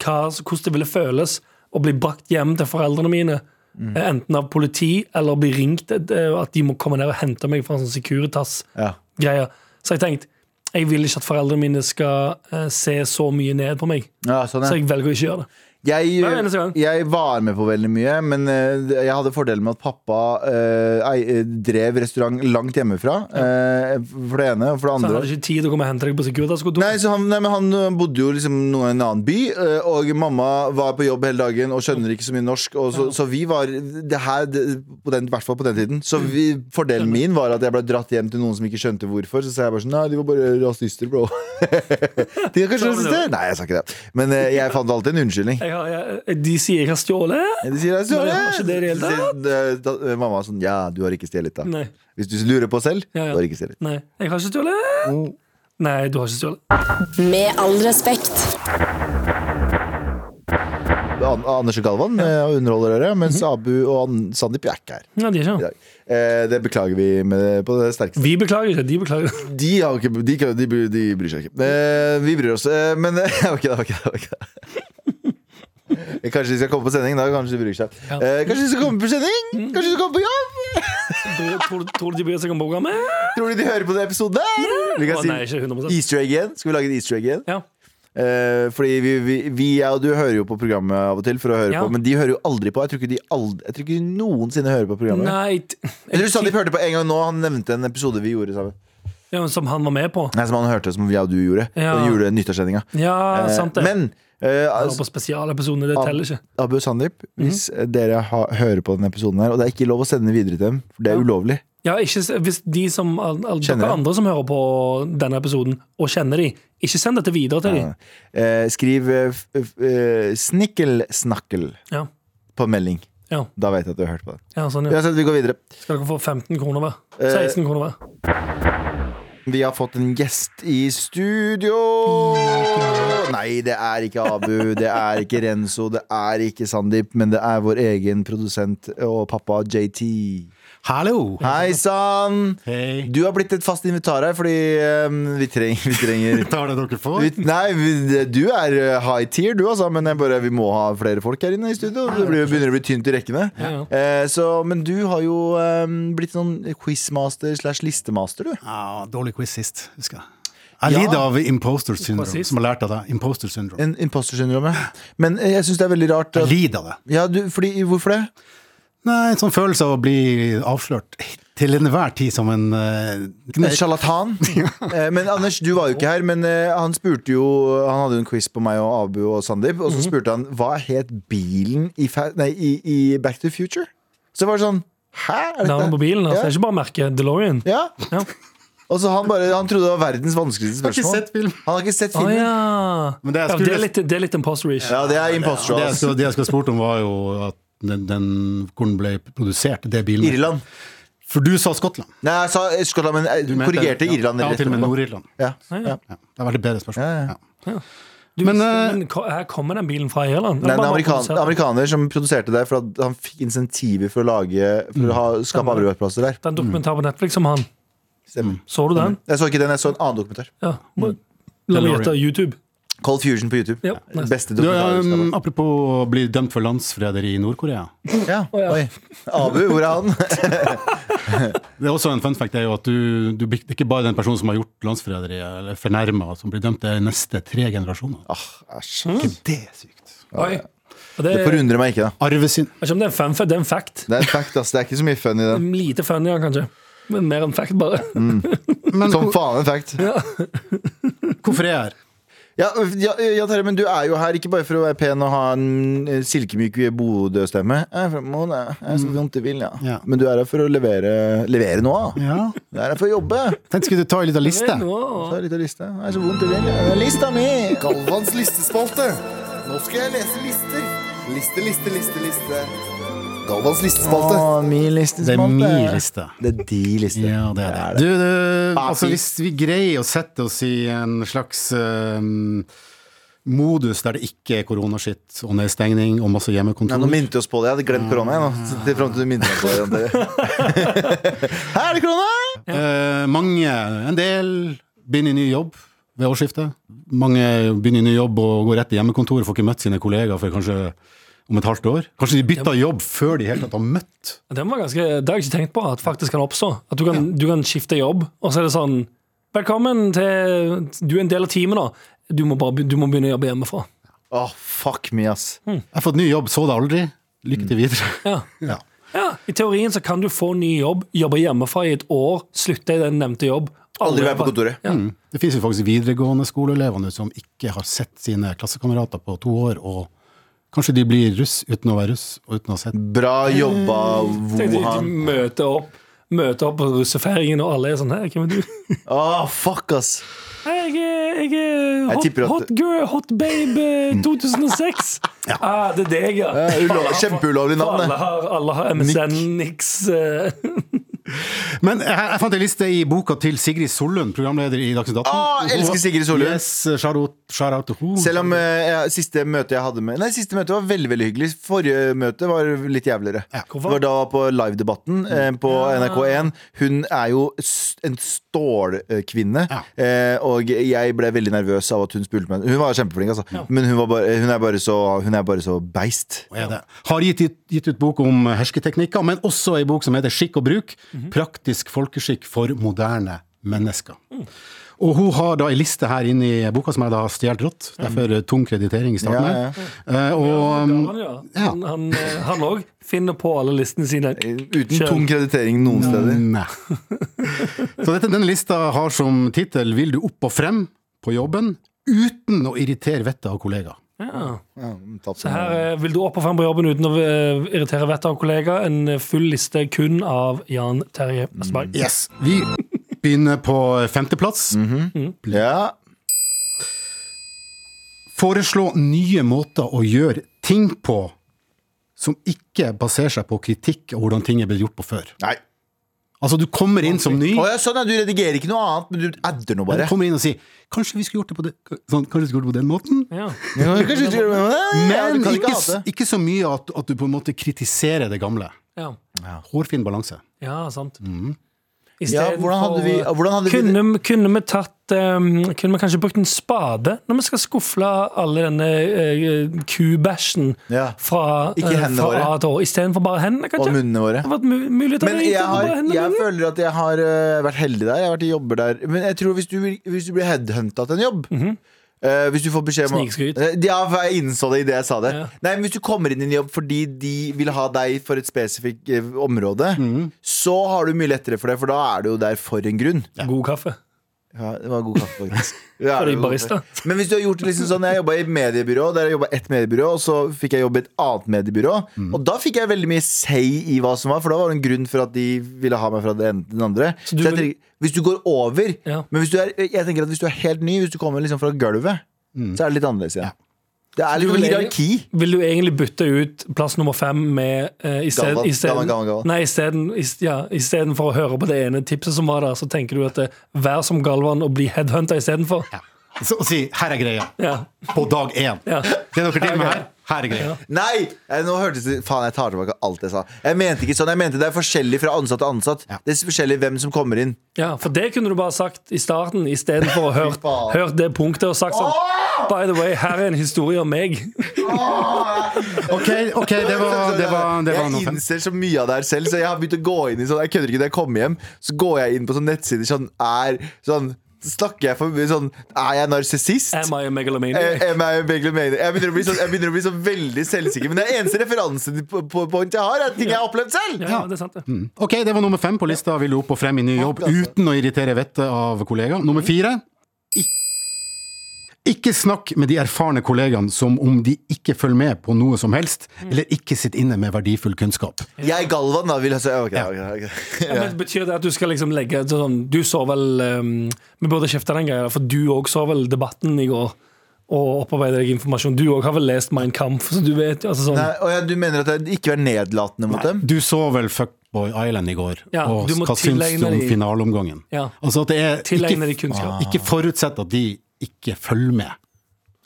hva, Hvordan det ville føles Å bli brakt hjem til foreldrene mine eh, Enten av politi Eller bli ringt eh, At de må komme ned og hente meg fra en sånn Securitas Ja. greier Så jeg tenkte Jeg vil ikke at foreldrene mine skal eh, se så mye ned på meg ja sånn, ja. Så jeg velger å ikke gjøre det Hver Jeg, eneste gang. jeg var med på veldig mye, men eh, jeg hadde fordelen med at pappa eh, ei, eh, drev restaurant langt hjemmefra. eh, for det ene. Og for det Så han andre hadde ikke tid til å komme og hente deg på Securitas-kontoret? Nei, så han, nei, men han bodde jo liksom noen i en annen by, eh, og mamma var på jobb hele dagen og skjønner ikke så mye norsk. Og så, så vi var det her, det- på den, i hvert fall på den tiden. Så vi, fordelen min var at jeg ble dratt hjem til noen som ikke skjønte hvorfor. Så sa jeg bare sånn Nei, de var bare rasister, bro. de er kanskje rasister? Nei, jeg sa ikke det. Men eh, jeg fant alltid en unnskyldning. Jeg har, jeg, de sier jeg har stjålet. Ja, altså, De sier jeg Men stjålet. jeg har ikke det i det hele tatt. Så sier- da- Mamma er sånn Ja, du har ikke stjålet, da. Nei. Hvis du lurer på selv, Ja, ja. du har ikke stjålet. Nei, jeg har ikke stjålet. Mm. Nei, du har ikke stjålet. Med all respekt. An Anders og Galvan eh, underholder dere, mens Abu og An Sandeep er ikke her Nei, de er i ikke. dag. Eh, det beklager vi med, på det sterkeste. Vi beklager ikke, de beklager. De, har jo ikke, de, kan- de, bry- de bryr seg ikke. Eh, vi bryr oss, eh, men det var ikke det. Var ikke det, var ikke det. Eh, Kanskje de skal komme på sending. da Kanskje de bryr seg eh, Kanskje de skal komme på sending? Kanskje de skal komme på jobb? Bryr- Tror, tror du de bryr seg om programmet? Tror du de hører på den episoden? der? Vi Å, kan nei, si ikke 100 Easter egg igjen. Skal vi lage et easter egg igjen? Ja. Eh, fordi vi, vi, vi jeg og du hører jo på programmet av og til, for å høre Ja. på, men de hører jo aldri på. Jeg tror ikke de, aldri, jeg tror ikke de noensinne hører på programmet. Nei, t- Jeg tror Sandeep hørte på en gang nå Han nevnte en episode vi gjorde sammen. ja, men som han var med på. Nei, Som han hørte, som jeg og du gjorde. Ja. Den gjorde nyttårssendinga. Ja, Eh, sant det. men eh, Han var altså, på spesialepisoden, det teller ikke. Abu og Sandeep, Mhm. hvis eh, dere ha, hører på denne episoden her, og det er ikke lov å sende videre til dem, for det er Ja. ulovlig Ja, ikke, s- hvis de som, al, al, Kjenner dere det. andre som hører på denne episoden, og kjenner de, ikke send dette videre til de. Eh, Skriv eh, f- f- eh, 'snikkelsnakkel' Ja, på melding. Ja. Da vet jeg at du har hørt på den. ja sånn ja. Uansett, vi går videre. Skal dere få 15 kroner hver? Eh, 16 kroner hver. Vi har fått en gjest i studio! Nei, det er ikke Abu, det er ikke Renzo, det er ikke Sandeep, men det er vår egen produsent og pappa JT. Hallo! Hei sann! Hei. Du har blitt et fast invitar her, fordi eh, vi, treng, vi trenger Tar det dere får? vi, Nei, vi, du er eh, high tier, du altså, men jeg bare, vi må ha flere folk her inne i studio. Det blir, begynner å bli tynt i rekkene. Ja, Eh, så, men du har jo eh, blitt sånn quizmaster slash listemaster, du. Ja, dårlig quiz sist, husker jeg. Jeg lider av imposter syndrome, sist? som har lært av deg. Imposter syndrome. En impostersyndrom, ja. Men eh, jeg syns det er veldig rart. Jeg At, lider av det. ja, du, fordi, hvorfor det? Nei, en sånn følelse av å bli avslørt til enhver tid som en uh, En Sjarlatan. Eh, Men Anders, du var jo ikke her, men eh, han spurte jo Han hadde jo en quiz på meg og Abu og Sandeep, og så Mhm. spurte han hva het bilen i, fa nei, i, i Back to the Future? Så det var sånn Hæ? Er dette- Navnet på bilen. Ja. altså, Det er ikke bare merket DeLorean. Ja. Ja. Og så han, bare, han trodde det var verdens vanskeligste Har ikke spørsmål. sett film. Han har ikke sett Å filmen. ja. Men det jeg ja. skulle- Det er litt, det er litt imposter-ish. Ja, det er Det imposter. jeg, ass. skulle, det jeg skulle spurt om, var jo at den, den, hvor den ble produsert, det bilen. Irland. For du sa Skottland. Nei, jeg sa Skottland, men jeg Du mente- korrigerte ja, Irland. Ja, rett til og med etterpå. Nord-Irland. Ja. Ja, det var et bedre spørsmål. Ja, ja. Ja. Du, Men, men, eh, ko- her kommer den bilen fra Irland. Nei, Eller en bare amerikan, produsert. amerikaner som produserte det, for at han fikk insentiver for å lage For å ha, skape arbeidsplasser der. Den dokumentar på Netflix om han. Mm. Stemmer. Mm. Så du den? Jeg så ikke den, jeg så en annen dokumentar. Ja. La meg gjette. YouTube. Cold Fusion på YouTube. Ja, nice. Beste Du, um, dokumentarskapet. apropos å bli dømt for landsforræderi i Nord-Korea. Ja. Oi. Abu, hvor er han? Det er også en fun fact er jo at du, du blir det er ikke bare den personen som har gjort landsforræderiet, eller fornærma, som blir dømt, det er neste tre generasjoner. Æsj. Det er sykt. Oi. Og det, Det jeg vet forundrer meg ikke, da. Arvesynd. ikke om det er en fun fact, det er en fact. Det er en fact, ass. Det er ikke så mye fun i den. Lite fun, ja, kanskje. Men mer enn fact, bare. Men Som hvor- faen en fact. hvorfor er jeg her? Ja, ja, ja Terje, men du er jo her ikke bare for å være pen og ha en eh, silkemyk Bodø-stemme. Jeg er fra Molde. Jeg er så vondt i vilja. Ja. Men du er her for å levere, levere noe. da. Ja. Du er her for å jobbe. Tenkte skulle du ta en liten liste. Så er det litt av liste. Jeg er så vondt i vilja. Det er lista mi! Galvans listespalte. Nå skal jeg lese lister. Liste, liste, liste, liste. Galvans listespalte. Å, min Det er listespalte. min liste. Det er de liste. Ja, det er det. Du, du, altså, hvis vi greier å sette oss i en slags øhm, modus der det ikke er koronaskitt og nedstengning og masse Nei, hjemmekontor nå minte du oss på det. Jeg hadde glemt korona. jeg, nå. Så Til frem til du minte meg på det. Jan Terje. Her er det korona! Eh, mange, en del, begynner i ny jobb ved årsskiftet. Mange begynner i ny jobb og går rett til hjemmekontoret, får ikke møtt sine kollegaer før kanskje om et halvt år. Kanskje de bytter jobb før de helt tatt har møtt. Den var ganske, det har jeg ikke tenkt på, at faktisk kan oppstå. At du kan, du kan skifte jobb, og så er det sånn Velkommen til Du er en del av teamet nå. Du må, bare, be- du må begynne å jobbe hjemmefra. Åh, fuck me, ass. Jeg har fått ny jobb, så det aldri. Lykke til videre. Ja. Ja. ja, I teorien så kan du få ny jobb, jobbe hjemmefra i et år, slutte i den nevnte jobb. Aldri være på kontoret. Ja. Mm. Det finnes jo faktisk videregående skoleelever nå som ikke har sett sine klassekamerater på to år, og kanskje de blir russ uten å være russ og uten å ha sett Bra jobba, Tenk, du, du Wuhan. møter opp Møter opp på russefeiringen, og alle er sånn Hei, hvem er du? Åh, fuck, ass. Hei, jeg er, jeg er Jeg hot, tipper at- Mm. hot girl, hot babe eh, 2006. ah, det er deg, ja. Eh, ulov- Kjempeulovlig For navn, alle det. har, alle har MSN, Nix eh, Men jeg, jeg fant en liste i boka til Sigrid Sollund, programleder i Dagsnytt 18. Åh, Ah, jeg elsker Sigrid Sollund. Yes, shout out, shout out to who. Selv om eh, jeg, siste møte jeg hadde med Nei, siste møte var veldig veldig hyggelig. Forrige møte var litt jævligere. Det Hvorfor? var da jeg var på Livedebatten eh, på NRK1. Hun er jo s- en stålkvinne, Ja. eh, og jeg ble veldig nervøs av at hun spurte meg. Hun var kjempeflink, altså, men hun, var bare, hun, er bare så, hun er bare så beist. er det. Har gitt, ut- gitt ut bok om hersketeknikker, men også ei bok som heter Skikk og bruk. Praktisk folkeskikk for moderne mennesker. Og hun har da ei liste her inne i boka som jeg da har stjålet rått. Derfor eh, tung kreditering i starten Ja, her. Eh, og um, han, ja. ja. han, han, eh, han òg finner på alle listene sine. Uten Kjør. tung kreditering noen Mm. steder. Nei. Så dette, denne lista har som tittel 'Vil du opp og frem på jobben uten å irritere vettet av kollegaer'? Ja. Ja, tapt. Så her eh, vil du opp og frem på jobben uten å eh, irritere vettet av kollega. En eh, full liste kun av Jan Terje Østberg. Mm. Yes. Vi begynner på femteplass. Mhm. ja. Foreslå nye måter å gjøre ting på som ikke baserer seg på kritikk og hvordan ting er blitt gjort på før. Nei. Altså, du kommer inn som ny. Å ja, sånn, ja. Du redigerer ikke noe annet, men du adder noe Du bare. kommer inn og sier 'kanskje vi skulle gjort det på, det, sånn, kanskje vi skulle gjort det på den måten'? Ja. Kanskje du skriver- Ja, Men du kan ikke, ha s- det. ikke så mye at, at du på en måte kritiserer det gamle. Ja. Hårfin balanse. Ja, sant. I Mm. Ja, stedet hvordan hadde for- vi, hvordan hadde vi kunne, kunne vi tatt ehm, Kunne vi kanskje brukt en spade når vi skal skufle alle denne uh, kubæsjen Ja. fra, Ikke eh, hendene fra våre. A til Å, istedenfor bare hendene, Og kanskje? munnene våre. Det hadde vært mu- mulig å ta Men det jeg, innenfor bare har, hendene jeg mine. føler at jeg eh, har øh, vært heldig der. Jeg har vært i jobber der. Men jeg tror hvis du, vil- hvis du blir headhunta til en jobb Eh, hvis du får beskjed om Mhm. Snikskryt. Eh, Ja, for jeg innså det idet jeg sa det. Ja. Nei, men Hvis du kommer inn i en jobb fordi de vil ha deg for et spesifikt eh, område, Mhm. så har du mye lettere for det, for da er du jo der for en grunn. God kaffe. Ja, det var god kaffe, faktisk. Ja, For det en var god barista. kaffe. Men hvis du har gjort det liksom sånn Jeg jobba i et mediebyrå, der jeg jobbet ett mediebyrå, og så fikk jeg jobbe i et annet mediebyrå. Og da fikk jeg veldig mye say i hva som var, for da var det en grunn for at de ville ha meg fra det ene til den andre. Så du jeg vil- tenker, hvis du går over Ja. Men hvis du er, jeg tenker at hvis du er helt ny, hvis du kommer liksom fra gulvet, så er det litt annerledes igjen. Det er litt vil sånn egentlig- hierarki. Vil du egentlig bytte ut plass nummer fem med eh, i sted- Galvan, i stedet- Galvan, Galvan, Galvan. Nei, isteden ja, i stedet for å høre på det ene tipset som var der, så tenker du at det, vær som Galvan og bli headhunta istedenfor? Ja. Så å si 'her er greia' Ja. på dag én. Ja. Det dere driver med her, her er greia. Nei! eh, Nå hørtes det Faen, jeg tar tilbake alt jeg sa. Jeg mente ikke sånn. Jeg mente det er forskjellig fra ansatt til ansatt. Ja. Det er forskjellig hvem som kommer inn. ja, for det kunne du bare sagt i starten, istedenfor å hørt, hørt det punktet og sagt sånn By the way, her er en historie om meg. Ok, ok, det var, det var, det var jeg noe. innser så mye av det her selv, så jeg har begynt å gå inn i sånn Jeg kødder ikke, når jeg kommer hjem, så går jeg inn på sånne nettsider sånn er sånn Snakker jeg for mye sånn Er jeg narsissist? Am I a megalomaniac? Eh, am I a megalomaniac? Jeg begynner å bli så, jeg begynner å bli så veldig selvsikker. Men det er eneste referansepoint jeg har, er ting jeg har opplevd selv. Ja, det er sant, det. Ok, det var nummer fem på lista. Vil du opp og frem i ny jobb uten å irritere vettet av kollegaer? Nummer fire. Ik- Ikke snakk med de erfarne kollegaene som om de ikke følger med på noe som helst, Mm. eller ikke sitter inne med verdifull kunnskap. Jeg, Galvan, da vil jeg si ok, ok, ok. Ja, men Betyr det at du skal liksom legge et sånn Du så vel ehm, Vi burde kjefte den greia, for du òg så vel Debatten i går. Og opparbeide deg informasjon. Du òg har vel lest Mein Kampf, så du vet jo altså sånn Nei, og ja, du mener at jeg ikke er nedlatende mot dem? Du så vel Fuckboy Island i går, Ja, og du må hva syns tilegne du om de- finaleomgangen? Ja. Altså at det er Tilegne de ikke, kunnskap. ikke forutsett at de ikke følger med.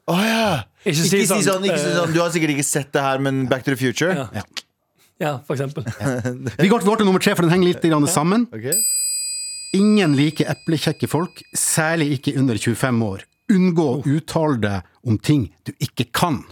Å ja! Ikke Ikke si si sånn, sånn, ikke si eh, sånn. Du har sikkert ikke sett det her, men Back to the Future? Ja. Ja, for eksempel. Vi går til vår til nummer tre, for den henger litt grann sammen. Ok. Ingen liker eplekjekke folk, særlig ikke under 25 år. Unngå Oh. å uttale deg om ting du ikke kan.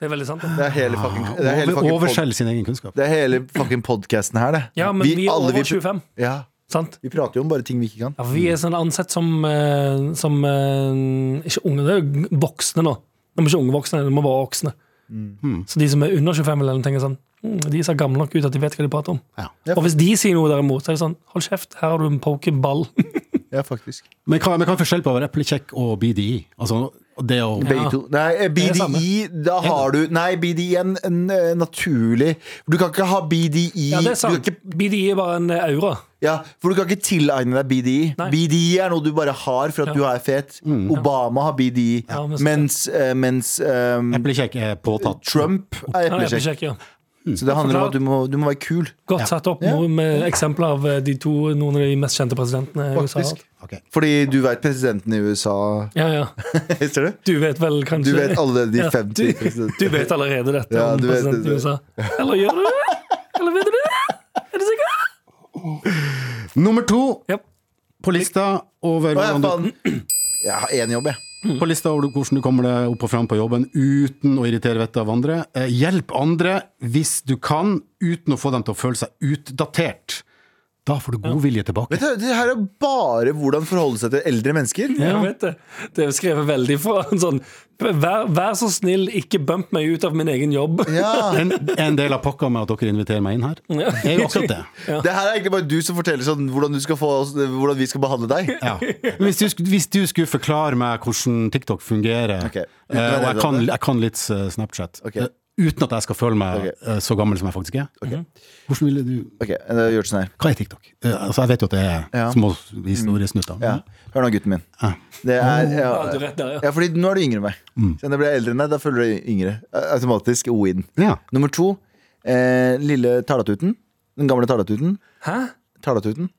Det er veldig sant. Det det. er hele fucking, det er hele Ah, Over, fucking pod- overselge sin egen kunnskap. Det er hele fucking podcasten her, det. Ja, men vi, er alle over 25. Ja, Sant? vi prater jo om bare ting vi ikke kan. Ja, for vi er sånn ansett som, eh, som eh, Ikke unge, det er jo voksne nå. De er ikke unge voksne, de er bare voksne. Mm. Så de som er under 25, eller noe, tenker sånn mm, De ser gamle nok ut at de vet hva de prater om. Ja. Og hvis de sier noe derimot, så er det sånn Hold kjeft, her har du en pokerball. Ja, faktisk. Men hva, men hva er forskjell på å være eplekjekk og BDI? Altså, det å Begge to. Nei, eh, er det BDI, da har du Nei, BDI er en, en eh, naturlig Du kan ikke ha BDI Ja, det er du kan sant. ikke, BDI er bare en eh, aura. ja, For du kan ikke tilegne deg E. BDI. Nei. BDI er noe du bare har for at du er fet. Obama har BDI, Ja, men så- mens, eh, mens eh, Eplekjekk er påtatt. Trump er Ja, eplekjekk. eplekjekk, ja. Så det handler om at du må, du må være kul. Godt satt opp nå med eksempler av eh, de to, noen av de mest kjente presidentene i USA. har Faktisk. hatt. Ok. Fordi du veit presidenten i USA, Ja, ja. ser du? Du vet vel kanskje Du vet alle de Ja, 50 du- presidentene. Du vet allerede dette Ja, om du vet presidenten i det. USA. Eller gjør du det? Eller vet du det? Er du sikker? Nummer to Ja. på lista over Å, ja, hvordan du faen. Jeg har én jobb, jeg. på lista over hvordan du kommer deg opp og fram på jobben uten å irritere vettet av andre. Eh, Hjelp andre hvis du kan, uten å få dem til å føle seg utdatert. Da får du god vilje tilbake. Vet du, Det her er bare hvordan forholde seg til eldre mennesker. Jeg vet det. Det er jo skrevet veldig fra en sånn vær, vær så snill, ikke bump meg ut av min egen jobb. Ja. En, en del av pakka med at dere inviterer meg inn her, er jo akkurat det. Det her er egentlig bare du som forteller sånn, hvordan, du skal få, oss- hvordan vi skal behandle deg. Ja. Men Hvis, du, sk- hvis du skulle forklare meg hvordan TikTok fungerer, Ok. Uten eh, og å jeg nevne kan, det. jeg kan litt eh, Snapchat, Ok. eh, uten at jeg skal føle meg Ok. eh, så gammel som jeg faktisk er Hvordan ville du Ok, det gjør det sånn her Hva er TikTok? Eh, altså, jeg vet jo at det er Ja. små historiesnutter. ja. Hør nå, gutten min. Det er, ja, Ja, du er rett der, ja. ja, fordi nå er du yngre enn meg. Så når jeg blir eldre enn deg, da følger du yngre. Automatisk O-in. Ja. Nummer to, eh, lille talatuten. Den gamle talatuten. Hæ? Talatuten.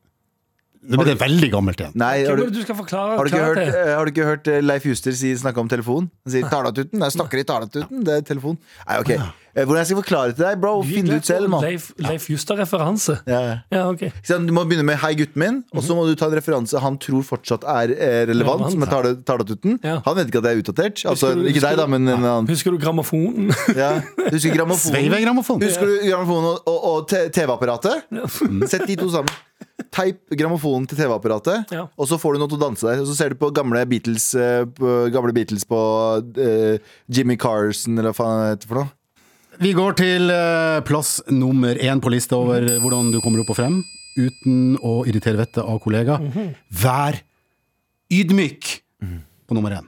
Det blir det veldig gammelt igjen. Nei, Hva har er du, det du skal forklare? har du ikke klart hørt, det? eh, har du ikke hørt eh, Leif Juster si, snakke om telefon? Han sier 'talatuten'. Jeg snakker i talatuten. Det er telefon. Nei, ok. Eh, Hvordan jeg skal forklare til deg, bro? Finn det ut selv, mann. Leif, Leif Justad-referanse. Ja, ja. Ja, ok. Ikke sant? Du må begynne med 'hei, gutten min', og så må du ta en referanse han tror fortsatt er eh, relevant. Relevant, Som er tale- talatuten. Ja. Han vet ikke at jeg er utdatert. Altså, Husker du- ikke husker deg, da, du- men en annen. Husker du grammofonen? Ja. Du Husker grammofonen Sveivegramofon. Husker du grammofonen og, og, og te- TV-apparatet? Sett de to sammen. Teip grammofonen til TV-apparatet, Ja. og så får du noe til å danse der. Og så ser du på gamle Beatles, eh, på, gamle Beatles på eh, Jimmy Carson, eller hva faen det heter for noe. Vi går til eh, plass nummer én på lista over hvordan du kommer opp og frem uten å irritere vettet av kollegaer. Vær ydmyk på nummer én.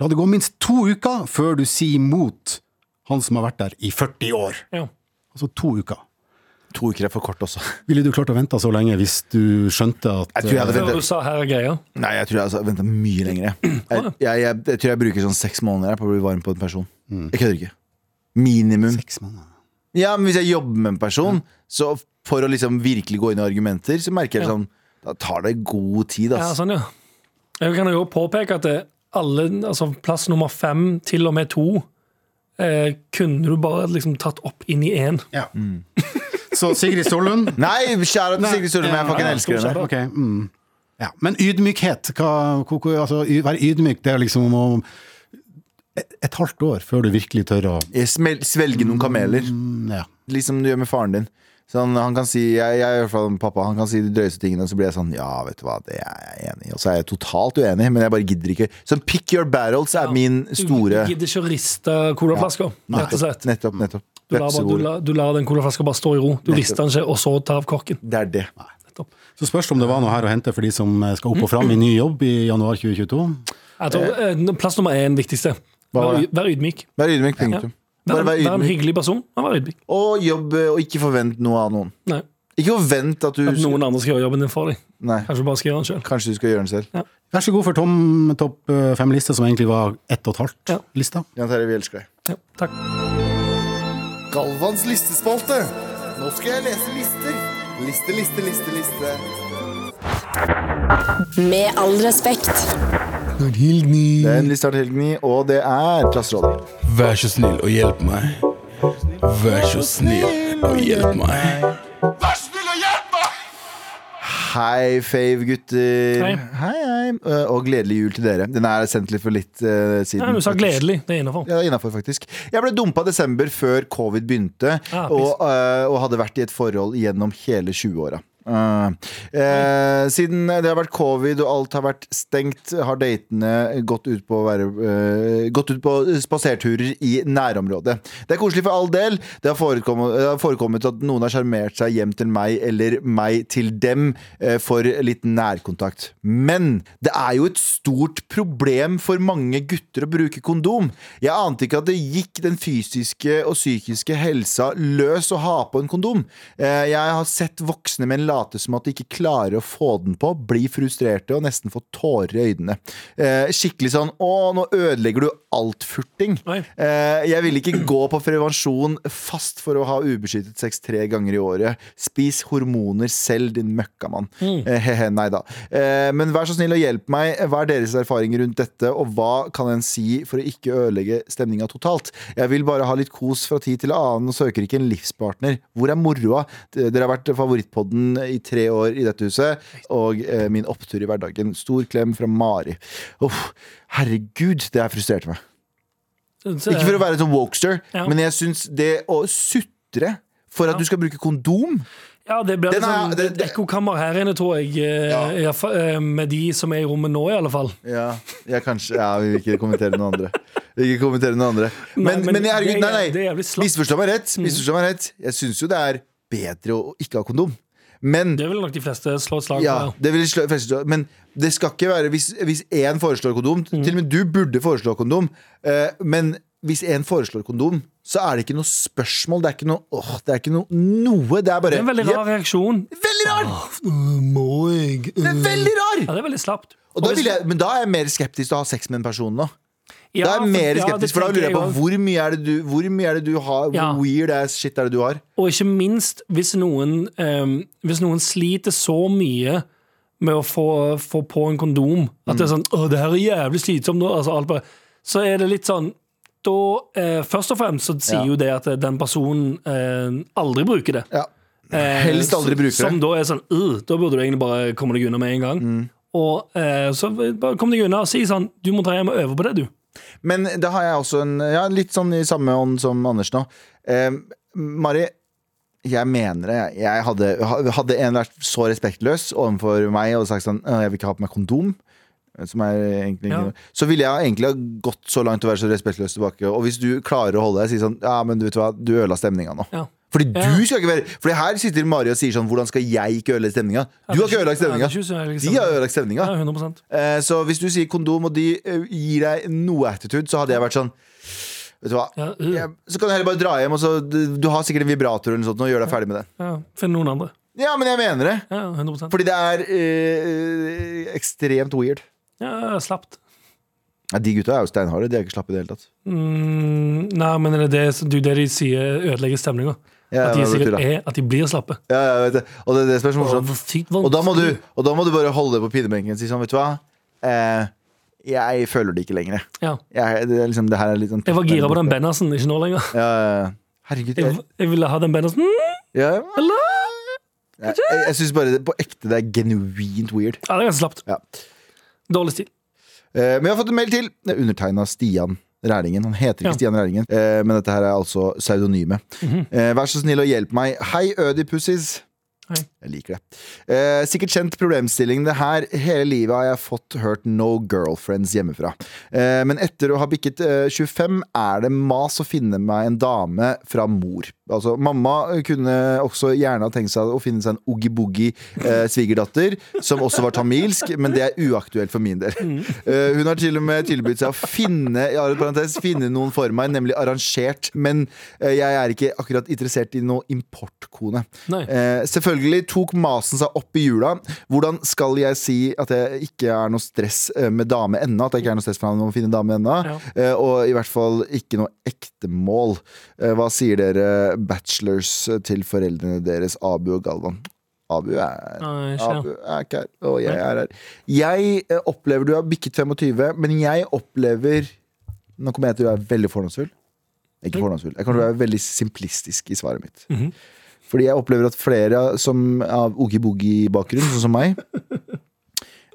La det gå minst to uker før du sier imot han som har vært der i 40 år. Ja. Altså to uker. To uker er for kort også. Ville du klart å vente så lenge hvis du skjønte at Jeg tror jeg hadde eh, Før ventet, du sa 'her er greia'. nei, jeg tror jeg hadde ventet mye lenger. Jeg, jeg, jeg, jeg, jeg tror jeg bruker sånn seks måneder jeg, på å bli varm på en person. Jeg kødder ikke. Minimum. eh, Seks måneder. Ja, men hvis jeg jobber med en person, så for å liksom virkelig gå inn i argumenter, så merker jeg sånn Da tar det god tid, Ja, ass. sånn, ja. Jeg kan jo påpeke at det- alle, altså plass nummer fem til og med to eh, kunne du bare liksom tatt opp inn i én. Ja. Mm. Så Sigrid Stålund Nei, kjære til Nei, Sigrid Sørlund, jeg ja, fucking ja, elsker henne. Ok, mm. ja. Men ydmykhet, hva, hva, hva- altså, y- være ydmyk, det er liksom om et, et halvt år før du virkelig tør å Jeg smel- Svelge noen kameler. mm, ja. liksom du gjør med faren din. Sånn, han kan si, jeg, jeg er i hvert fall med pappa, han kan si de drøyeste tingene, og så blir jeg sånn, ja, vet du hva, det er jeg enig i. Og så er jeg totalt uenig, men jeg bare gidder ikke. Sånn, pick your battles er min store... Du gidder ikke å riste colaflaska, rett og slett. Nettopp, nettopp. Du lar, bare, du, Vepsebol. lar, du lar den colaflaska bare stå i ro. Du rister den ikke, og så ta av korken. Det er det. Så spørs det om det var noe her å hente for de som skal opp og fram i ny jobb i januar 2022. Jeg tror, eh, plass nummer én viktigste. var Vær, det? yd- vær ydmyk. Vær ydmyk, punktum. Vær, Bare en- vær vær en ydmyk. hyggelig person, men vær ydmyk. Og jobb, og ikke forvent noe av noen. Nei, Ikke forvent at du... at noen andre skal gjøre jobben din for deg. Nei, Kanskje du bare skal gjøre den sjøl. kanskje du skal gjøre den selv. Vær så god for Tom topp eh, fem-liste, som egentlig var ett og et Ja. halvt-lista. Jan Terje, vi elsker deg. Ja, takk. Galvans listespalte. Nå skal jeg lese lister. Liste, liste, liste, liste. Med all respekt. Det er en liste her til Helgny, og det er klasserådet. Vær så snill og hjelp meg. Vær så snill og hjelp meg. Hei, Fave-gutter. Hei. hei. hei. Eh, Og gledelig jul til dere. Den er sendt litt for litt eh, siden. Nei, du sa faktisk. gledelig. Det er innafor. Ja, innenfor, faktisk. Jeg ble dumpa i desember før covid begynte, Ah, og, eh, og hadde vært i et forhold gjennom hele 20-åra. Eh, eh, siden det har vært covid og alt har vært stengt, har datene gått ut på, å være, eh, gått ut på spaserturer i nærområdet. Det er koselig for all del. Det har forekommet, det har forekommet at noen har sjarmert seg hjem til meg eller meg til dem eh, for litt nærkontakt. Men det er jo et stort problem for mange gutter å bruke kondom. Jeg ante ikke at det gikk den fysiske og psykiske helsa løs å ha på en kondom. Eh, Jeg har sett voksne menn late som at de ikke klarer å få den på, bli frustrerte og nesten få tårer i øynene. Eh, Skikkelig sånn 'Å, nå ødelegger du alt-furting'. Oi. Eh, Jeg vil ikke gå på prevensjon fast for å ha ubeskyttet sex tre ganger i året. Spis hormoner selv, din møkkamann. Mm. Eh, He-he, nei da. Eh, Men vær så snill og hjelp meg. Hva er deres erfaring rundt dette, og hva kan en si for å ikke ødelegge stemninga totalt? Jeg vil bare ha litt kos fra tid til annen og søker ikke en livspartner. Hvor er moroa? Dere har vært favorittpodden i tre år i dette huset, og eh, min opptur i hverdagen. Stor klem fra Mari. Uff, herregud, det her frustrerte meg. Ikke for å være sånn wokester, Ja. men jeg syns det å sutre for at du skal bruke kondom Ja, det blir Den litt sånn, er- det, det- det- et ekkokammer her inne, tror jeg. eh, i hvert fall, eh, Med de som er i rommet nå, i alle fall. Ja, jeg kanskje Ja, vi vil ikke kommentere noen andre. Vi vil ikke kommentere noen andre. Nei, Men, men men, herregud, det er- nei, nei. det er Mm. jævlig slapt. Misforstå meg rett. Misforstå meg rett. Jeg syns jo det er bedre å ikke ha kondom. Men Det vil nok de fleste slå et slag ja, på. det vil slå, fleste slå- Men det skal ikke være Hvis, hvis én foreslår kondom Mm. Til og med du burde foreslå kondom eh, Men hvis én foreslår kondom Så er det ikke noe spørsmål Det er ikke noe, åh, det er ikke noe, noe Det er bare Det er en veldig rar reaksjon. Veldig rar! Det er veldig rar! Ja, det er veldig slapt. Og da hvis- vil jeg, men da er jeg mer skeptisk til å ha sex med en person nå. Ja, Da er jeg mer ja, det skeptisk, for da lurer jeg på tenker hvor mye er det du, hvor mye er det du har, hvor Ja. weird ass shit er det du har. også. Og ikke minst hvis noen, eh, hvis noen sliter så mye med å få, få på en kondom Mm. at det er sånn 'Å, det her er jævlig slitsomt', nå», altså, alt bare, så er det litt sånn da, eh, Først og fremst så sier Ja. jo det at eh, den personen eh, aldri bruker det. Ja. Eh, Helst aldri som- bruker det. Som da er sånn «Øh, Da burde du egentlig bare komme deg unna med en gang. Mm. Og eh, så bare kom deg unna og si sånn Du må dra hjem og øve på det, du. Men da har jeg også en ja, litt sånn i samme ånd som Anders nå. Eh, Mari, Jeg mener det. Jeg- Jeg hadde, ha- hadde en vært så respektløs overfor meg og sagt sånn «Å, Jeg vil ikke ha på meg kondom. Som er egentlig ikke Ja. noe. Så ville jeg egentlig ha gått så langt å være så respektløs tilbake. Og hvis du klarer å holde deg, si sånn Ja, men du vet hva, du ødela stemninga nå. Ja. Fordi du Ja. skal ikke være Fordi her sitter Mari og sier sånn Hvordan skal jeg ikke ødelegge stemninga? Du har ikke ødelagt stemninga. Ja, det er ikke så ødelagt De har stemning. ødelagt stemninga. Ja, 100 Eh, Så hvis du sier kondom, og de eh, gir deg noe attitude, så hadde jeg vært sånn Vet du hva? Ja, øh. Jeg- Så kan du heller bare dra hjem, og så Du du har sikkert en vibrator eller noe sånt, og gjør deg ferdig med den. ja, Finn noen andre. Ja, men jeg mener det! Ja, 100 Fordi det er eh, ekstremt weird. Ja, slapt. Ja, de gutta er jo steinharde. De er ikke slappe i det hele tatt. Mm, nei, men det er det, det, er jo det de sier ødelegger stemninga. Ja, ja, At de det sikkert betyr det. er at de blir slappe. Ja, ja, jeg vet det. Og det, er det som er så morsomt. Å, sykt Og da må du, vanskelig. og da må du bare holde det på pinebenken og si sånn, vet du hva? Eh, jeg føler det ikke lenger. jeg. Ja. Jeg, det, er liksom, det her er litt sånn Jeg var gira på den Bennersen, ikke nå lenger. Ja, ja, ja. herregud. Jeg, Jeg, jeg ville ha den Bennersen. ja. Jeg, jeg, jeg syns bare det, på ekte det er genuint weird. Ja, det er ganske slapt. Ja. Dårlig stil. Eh, men jeg har fått en mail til. Det er Undertegna Stian Rælingen. Han heter ikke Ja. Mhm. Stian Rælingen, eh, men dette her er altså pseudonymet. eh, vær så snill og hjelp meg. Hei, Ødipussies. Hei. Jeg liker det. Eh, sikkert kjent problemstilling det her. Hele livet har jeg fått hørt no girlfriends hjemmefra. Eh, men etter å ha bikket eh, 25 er det mas å finne meg en dame fra mor. Altså, mamma kunne også gjerne ha tenkt seg å finne seg en oogie-boogie eh, svigerdatter, som også var tamilsk, men det er uaktuelt for min del. Eh, hun har til og med tilbudt seg å finne, i all parentes, finne noen for meg, nemlig arrangert, men eh, jeg er ikke akkurat interessert i noe importkone. Nei. Eh, selvfølgelig tok masen seg opp i jula. Hvordan skal jeg si at jeg ikke er noe stress eh, med dame ennå? At jeg ikke er noe stress med å finne dame ennå? Ja. Eh, og i hvert fall ikke noe ektemål. Eh, hva sier dere bachelors til foreldrene deres, Abu og Galvan? Abu er, Nei, ikke. Abu er ikke her, og eh, jeg er her. Jeg eh, opplever Du har bikket 25, men jeg opplever Nå kommer jeg til å være veldig fordomsfull. Ikke fordomsfull. Jeg kommer til å være veldig simplistisk i svaret mitt. Fordi jeg opplever at flere som av oogie-boogie-bakgrunn, sånn som meg,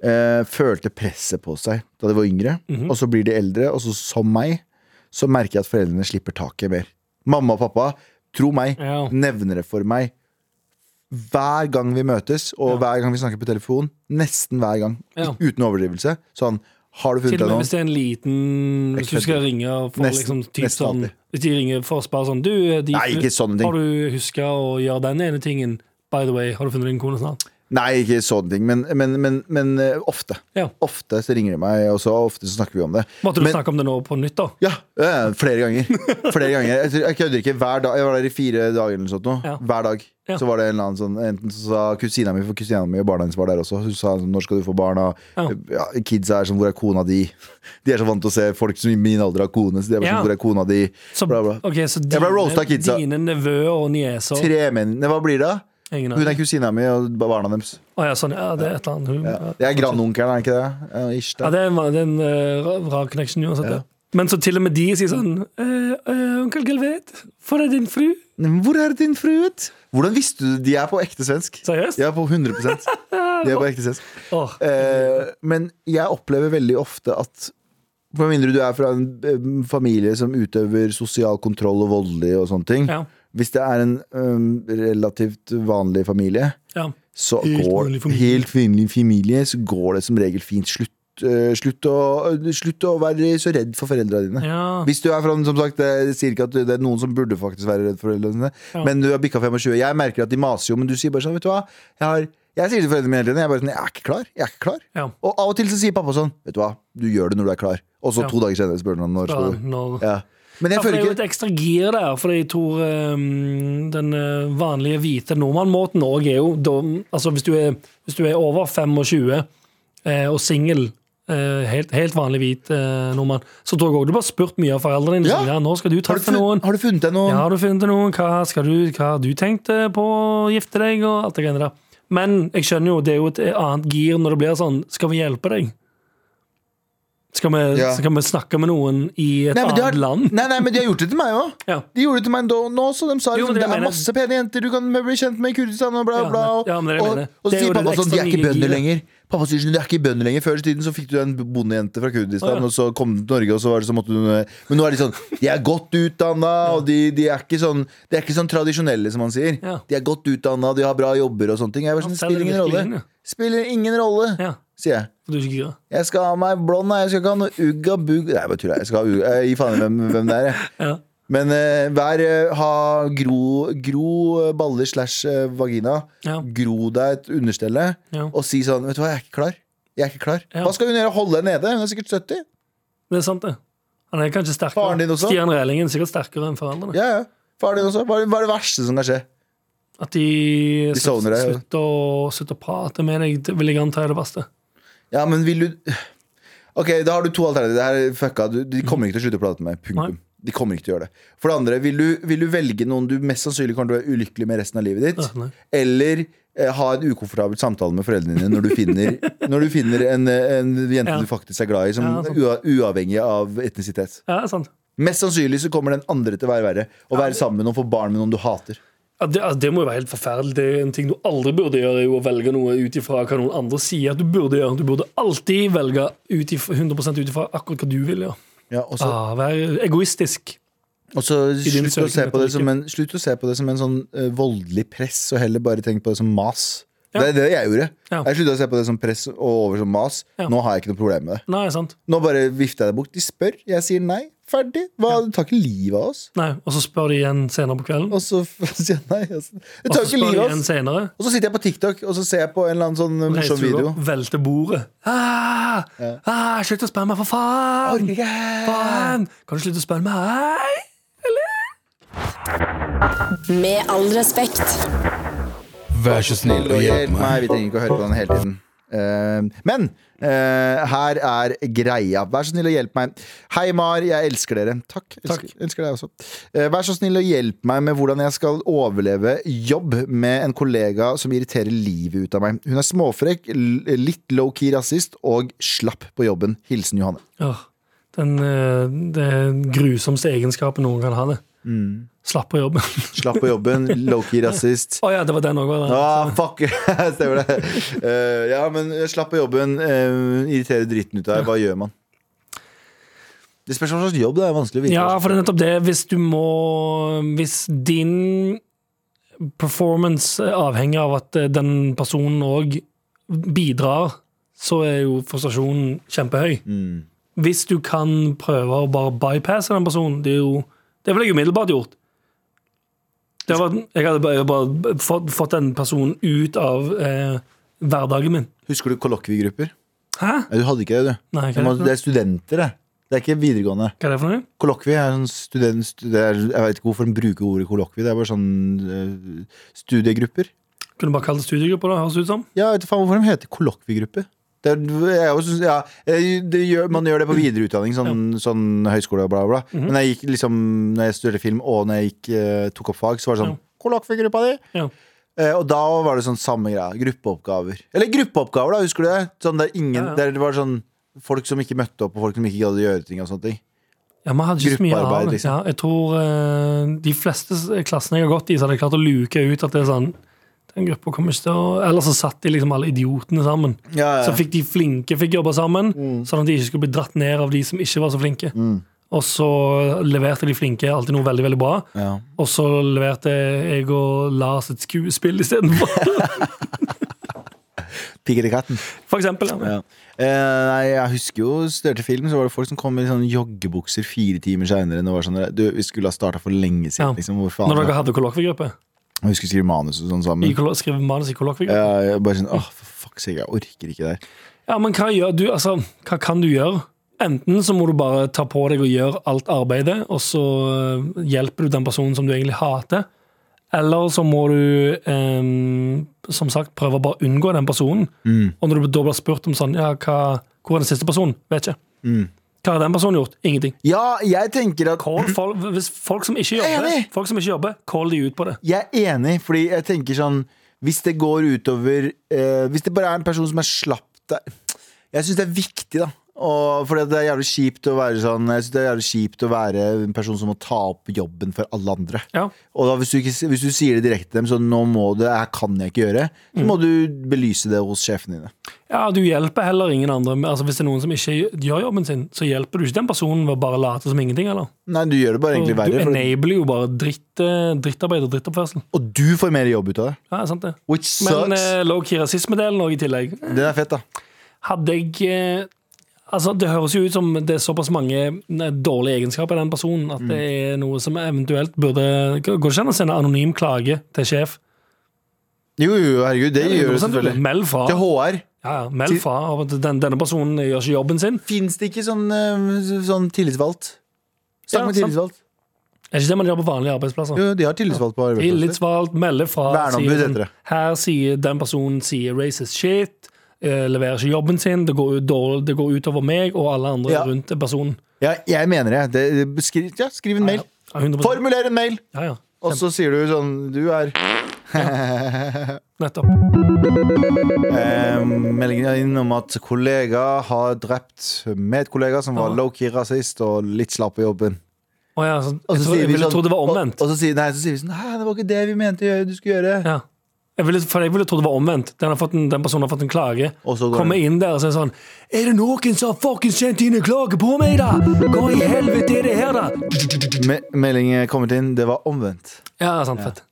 eh, følte presset på seg da de var yngre. Og så blir de eldre, og så som meg, så merker jeg at foreldrene slipper taket mer. Mamma og pappa, tro meg, Ja. nevner det for meg. Hver gang vi møtes, og hver gang vi snakker på telefon, nesten hver gang, Ja. uten overdrivelse, sånn Har du funnet Til deg og med noen? hvis det er en liten Hvis du skal ringe for Nesten- liksom typ nesten sånn alltid. Hvis de ringer for å spørre sånn Du, de, Nei, ikke sånne ting. har du huska å gjøre den ene tingen? By the way, har du funnet din kone snart? Nei, ikke sånne ting, men, men, men, men eh, ofte. Ja. Ofte så ringer de meg, og så ofte så snakker vi om det. Måtte du Men- snakke om det nå på nytt, da? Ja, ja, flere ganger. Flere ganger. Jeg, tror- jeg kødder ikke. Hver dag, jeg var der i fire dager eller noe sånt. nå. Ja. Hver dag. Ja. Så var det en eller annen sånn Enten så sa kusina mi, for kusina mi og barna hennes var der også. Hun sa sånn, når skal du få barn? Og Ja. ja, kidsa er sånn, hvor er kona di? De er så vant til å se folk som i min alder har kone, så de er bare Ja. sånn, hvor er kona di? Så, Bla, bla. ok, så Jeg ble roasta av kidsa. dine nevøer og nieser Tre menn. Nei, Hva blir det? da? Ingen av Hun er dem. kusina mi og barna deres. Å ja, sånn, ja, det er et eller annet. Hun, ja. Det er grandonkelen, er det ikke det? Ja, ish, det. Ja, det er en, det er en eh, ra- rar connection uansett. Ja. Men så til og med de sier sånn eh, eh, Onkel Gelvet, for er din fru? Men Hvor er din frue? Hvordan visste du de er på ekte svensk? Seriøst? De er på 100 De er på ekte svensk. Åh, Eh, men jeg opplever veldig ofte at med mindre du er fra en eh, familie som utøver sosial kontroll og voldelig og sånne ting Ja. Hvis det er en eh, relativt vanlig familie, ja. så Helt går vanlig familie. helt vanlig familie, så går det som regel fint. Slutt, eh, slutt, å, slutt å være så redd for foreldra dine. Ja. Hvis du er fra, som sagt, eh, jeg sier ikke at det er noen som burde faktisk være redd for foreldrene sine, Ja. men du har bikka 25. Jeg merker at de maser jo, men du sier bare sånn, vet du hva, jeg, har, jeg sier til foreldrene mine hele tiden, jeg er bare sånn, jeg er ikke klar, jeg er ikke klar. Ja. Og av og til så sier pappa sånn, vet du hva, du gjør det når du er klar. Og så Ja. to dager senere spør han når Da, skal du. når, Ja. Men Ja, jeg for det er føler jo et ikke ekstra gir der, for jeg tror ehm, den eh, vanlige hvite nordmannmåten òg er jo da, altså hvis, du er, hvis du er over 25 eh, og singel, eh, helt, helt vanlig hvit eh, nordmann, så tror jeg òg du blir spurt mye av foreldrene dine. Ja. sånn, Ja, nå skal du Har du treffe funnet, noen. har du funnet deg noen? Ja, har du funnet noen? Hva, skal du, hva har du tenkt eh, på å gifte deg? Og alt det greiene der. Men jeg skjønner jo, det er jo et annet gir når det blir sånn Skal vi hjelpe deg? Skal vi, Ja. skal vi snakke med noen i et Nei, men de har, annet land? nei, nei, men de har gjort det til meg òg. Ja. De gjorde det til meg da, nå også. De sa liksom, Jo, men det det jeg er mener- masse pene jenter du kan bli kjent med i Kurdistan. Og bla, Ja, bla. men- Og, ja, men det er det jeg og, mener. og så Det er jo sier pappa det sånn, de er ekstra ikke nye bønder giret. lenger. Pappa sier sånn, de er ikke bønder lenger. Før i tiden så fikk du en bondejente fra Kurdistan, Å, ja. og så kom du til Norge, og så var det så måtte du Men nå er de sånn De er godt utdanna, og de, de er ikke sånn De er ikke sånn tradisjonelle, som han sier. Ja. De er godt utdanna, de har bra jobber og sånne ting. Jeg var Han sånn, selger spiller ingen virkelig rolle. inn, ja. Spiller ingen rolle, Ja, sier jeg. for du er ikke gira? Jeg skal ha meg blond, jeg. jeg skal ikke ha noe ugga bugg Nei, bare tuller. Jeg skal ha ugga Jeg gir faen i hvem, hvem det er, jeg. Ja. Men eh, vær eh, Ha gro, gro eh, baller slash eh, vagina. Ja. Gro deg et understelle, Ja. og si sånn Vet du hva, jeg er ikke klar. Jeg er ikke klar. Ja. Hva skal hun gjøre? Holde henne nede? Hun er sikkert 70. Det er sant, det. Han er kanskje Faren din sterkere. også? Stian Relingen er sikkert sterkere enn foreldrene. Ja, ja. Far din også. Hva er det- hva er det verste som kan skje? At De de, slutt- sovner deg, ja. slutter å, slutter å prate med deg, det vil jeg anta er det verste. Ja, men vil du Ok, da har du to alternativer. Det her er fucka. Du, de kommer ikke til å slutte å prate med meg. Punktum. Nei. De kommer ikke til å gjøre det. For det andre, vil du, vil du velge noen du mest sannsynlig kommer til å være ulykkelig med resten av livet ditt? Ja, nei. Eller eh, ha en ukomfortabel samtale med foreldrene dine når du finner, når du finner en, eh, en jente Ja. du faktisk er glad i, som Ja, sant. ua, uavhengig av etnisitet. Ja, det er sant. Mest sannsynlig så kommer den andre til å være verre. Å være sammen med noen, få barn med noen du hater. Ja, det, altså, det må jo være helt forferdelig. Det er jo en ting du aldri burde gjøre, er jo å velge noe ut ifra hva noen andre sier at du burde gjøre. Du burde alltid velge ut ifra, 100 ut ifra akkurat hva du vil gjøre. Ja, og så, Ah, vær egoistisk. og så I din slutt, å søken se på etter det som lykke. en, slutt å se på det som en sånn eh, voldelig press, og heller bare tenk på det som mas. Det er det jeg gjorde. Ja. Jeg slutta å se på det som press og over som mas. Ja. Nå har jeg ikke noe problem med det. Nei, sant. Nå bare vifter jeg det bort. De spør, jeg sier nei. Ferdig. Hva, Du tar ikke livet av oss. Nei, Og så spør de igjen senere på kvelden. Og så f- sier jeg nei. Altså. Det Og tar jo ikke så spør de livet av igjen oss. senere. Og så sitter jeg på TikTok og så ser jeg på en eller annen sånn eh, morsom Reiser du video. opp, velter bordet. Ah, ah, slutt å spørre meg, for faen! Faen! Kan du slutte å spørre meg? Hei! Med all respekt. Vær så snill og hjelp meg. Vi trenger ikke å høre på den hele tiden. Eh, men eh, her er greia. Vær så snill og hjelp meg. Hei, Mar. Jeg elsker dere. Takk. Elsker, elsker deg også. Eh, vær så snill og hjelp meg med hvordan jeg skal overleve jobb med en kollega som irriterer livet ut av meg. Hun er småfrekk, l- litt low-key rasist og slapp på jobben. Hilsen Johanne. Ja, den, eh, den grusomste egenskapen noen kan ha det. Mm. Slapp på jobben. Slapp på jobben, low-key rasist. Å ja, det var den òg, var det? Ah, fuck! Stemmer det. Eh, ja, men slapp på jobben. eh, irriterer dritten ut av deg. Hva gjør man? Det spørs hva slags jobb det er vanskelig å vite. Ja, for det er nettopp det. Hvis du må Hvis din performance avhenger av at eh, den personen òg bidrar, så er jo frustrasjonen kjempehøy. Hvis du kan prøve å bare bypasse den personen, det er jo Det ville jeg umiddelbart gjort. Det var, jeg hadde bare, bare fått, fått den personen ut av eh, hverdagen min. Husker du kollokviegrupper? Hæ? Nei, du hadde ikke det, du. Nei, hva er Det det må- for det noe? er studenter, det. Det er ikke videregående. Hva er det for noe? Kollokvie er sånn student... stu- det er- Jeg vet ikke hvorfor de bruker ordet kollokvie. Det er bare sånn eh, studiegrupper. Kunne du bare kalt det studiegrupper, da, høres det ut som. Ja, vet du faen hvorfor de heter kollokviegruppe. Det er, jeg også, synes- ja, eh, det gjør, man gjør det på videre utdanning, sånn, sånn høyskole og bla, bla. bla. Men jeg gikk liksom, når jeg studerte film og når jeg gikk, eh, tok opp fag, så var det sånn Kollokviegruppa di! Ja. Eh, og da var det sånn samme greia. Gruppeoppgaver. Eller gruppeoppgaver, da, husker du det? Sånn der, ingen, Ja, ja. der det var sånn folk som ikke møtte opp, og folk som ikke gadd å gjøre ting. og sånne ting Ja, vi hadde ikke så mye Gruppearbeid, av det. liksom. Ja, jeg tror eh, de fleste s- klassene jeg har gått i, så hadde jeg klart å luke ut at det er sånn den gruppa kommer ikke til å Eller så satt de liksom alle idiotene sammen. Ja, Mm. ja. Så fikk de flinke fikk jobbe sammen, sånn at de ikke skulle bli dratt ned av de som ikke var så flinke. Mm. Og så leverte de flinke alltid noe veldig veldig bra, Ja. og så leverte jeg og Lars et skuespill istedenfor. Pigger i katten. For eksempel. Ja. Ja. Eh, nei, jeg husker jo studerte film, så var det folk som kom i sånne joggebukser fire timer seinere. Sånn, du, vi skulle ha starta for lenge siden. Ja. Liksom, hvor faen Når dere hadde kollokviegruppe. Jeg husker skrive manus og sånn sammen. I kollo- Skrive manus i kollokviegruppe. Ja, jeg bare sånn, åh, for fuck seg, jeg orker ikke det her. Ja, men hva gjør du? Altså, hva kan du gjøre? Enten så må du bare ta på deg og gjøre alt arbeidet, og så eh, hjelper du den personen som du egentlig hater. Eller så må du, eh, som sagt, prøve å bare unngå den personen. Mm. Og når du da blir spurt om sånn, ja, hva, hvor er den siste personen? Vet ikke. Mm. Hva har den personen gjort? Ingenting. Ja, jeg tenker at Call folk, hvis folk som ikke Mm. Jeg er jobber, enig. folk som ikke jobber, call de ut på det. Jeg er enig, fordi jeg tenker sånn Hvis det går utover eh, Hvis det bare er en person som er slapp der Jeg synes det er viktig da Og fordi det er jævlig kjipt å være sånn Jeg synes det er jævlig kjipt å være en person som må ta opp jobben for alle andre. Ja. Og da hvis du, ikke, hvis du sier det direkte til dem, så nå må du, her kan jeg ikke gjøre, så Mm. må du belyse det hos sjefene dine. Ja, du hjelper heller ingen andre. med- Altså, hvis det er noen som ikke gjør jobben sin, så hjelper du ikke den personen ved å bare late som ingenting, eller? Nei, du gjør det bare egentlig du verre. For, enabler jo bare dritt, eh, drittarbeid og drittoppførsel. og du får mer jobb ut av det. Ja, sant det. Which Men sucks. eh, low-key rasismedelen òg i tillegg. Den er fett, da. Hadde jeg eh, Altså, Det høres jo ut som det er såpass mange eh, dårlige egenskaper i den personen at det Mm. er noe som eventuelt burde Går det ikke an å sende anonym klage til sjef? Jo, jo, herregud, det gjør du 100% selvfølgelig. Meld fra. Til HR. Ja, ja, meld fra om at den, denne personen gjør ikke jobben sin. Fins det ikke sånn, eh, sånn tillitsvalgt? Ja, Snakk med sant. tillitsvalgt. Er ikke det man gjør på vanlige arbeidsplasser? Jo, de har tillitsvalgt på arbeidsplasser. Tillitsvalgt, melde fra. Verneombud sier den- heter det. Her sier den personen sier racist shit, eh, leverer ikke jobben sin, det går, ut dårlig, det går utover meg og alle andre Ja. rundt personen. Ja, jeg mener det. det det- skriv, ja, skriv en mail. Ja, 100%. Formuler en mail! Ja, ja. Og så sier du sånn Du er Nettopp. eh, Meldingen er innom at kollega har drept medkollega som var Ja. low-key rasist og litt slapp på jobben. Å ja, så, Og så jeg, tror, sier jeg vi ville sånn- trodd det var omvendt. Og, og så, sier, nei, så sier vi sånn Nei, det var ikke det vi mente å gjøre- du skulle gjøre. Ja. Jeg ville, for jeg ville trodd det var omvendt. Den, har fått en, den personen har fått en klage. Og så går Kommer inn der og sier sånn Er det noen som har fuckings sendt inn en klage på meg, da?! Hva i helvete er det her, da?! Me meldingen er kommet inn, det var omvendt. Ja, sant, fett.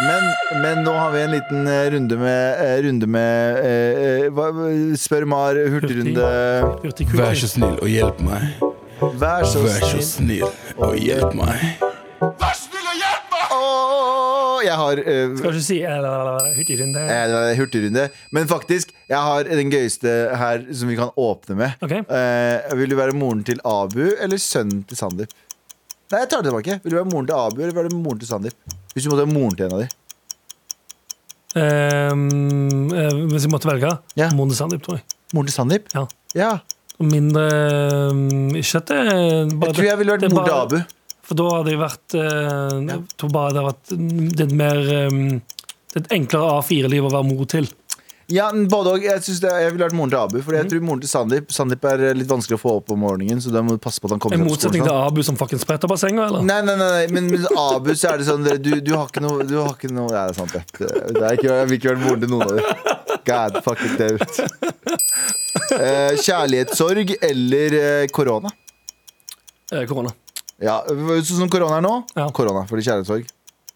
Men, men nå har vi en liten eh, runde med, eh, runde med eh, eh, hva- Spør Mar, hurtigrunde. Hurtigkurven. Vær så snill og hjelp meg. Vær så Vær så snill. snill og hjelp meg. Åh, jeg har eh, Skal ikke si Hurtigrunde. Eh, det var Hurtigrunde. Men faktisk, jeg har den gøyeste her som vi kan åpne med. Ok. Eh, vil du være moren til Abu eller sønnen til Sandeep? Nei, jeg tar det tilbake. Vil du være moren til Abu eller vil du være moren til Sandeep? Hvis du måtte være moren til en av de. Ehm, eh, hvis jeg måtte velge, Ja. Monde Sandeep, tror jeg. Moren til Sandeep? Ja. ja. Mindre um, Ikke at det bare, Jeg tror jeg ville vært det er moren til bare- Abu. For da hadde jeg vært eh, Ja. jeg tror bare det hadde vært mm, det er et mer ehm, det er et enklere A4-liv å være mor til. Ja, men både og. Jeg, synes det, jeg ville vært moren til Abu. Mhm. Fordi jeg tror moren til Sandeep Sandeep er litt vanskelig å få opp om morgenen, så da må du passe på at han kommer I seg på skolen. motsetning sånn. til Abu som fucking spretter bassenget, eller? Nei, nei, nei, nei, men med Abu så er det sånn dere, du, du har ikke noe Du har ikke noe Ja, det er sant, det. det er ikke, jeg vil ikke være moren til noen av dere. God fucking daut. Eh, kjærlighetssorg eller eh, korona? Eh, Korona. Ja, Sånn som korona er nå? Ja. Korona fordi kjærlighetssorg.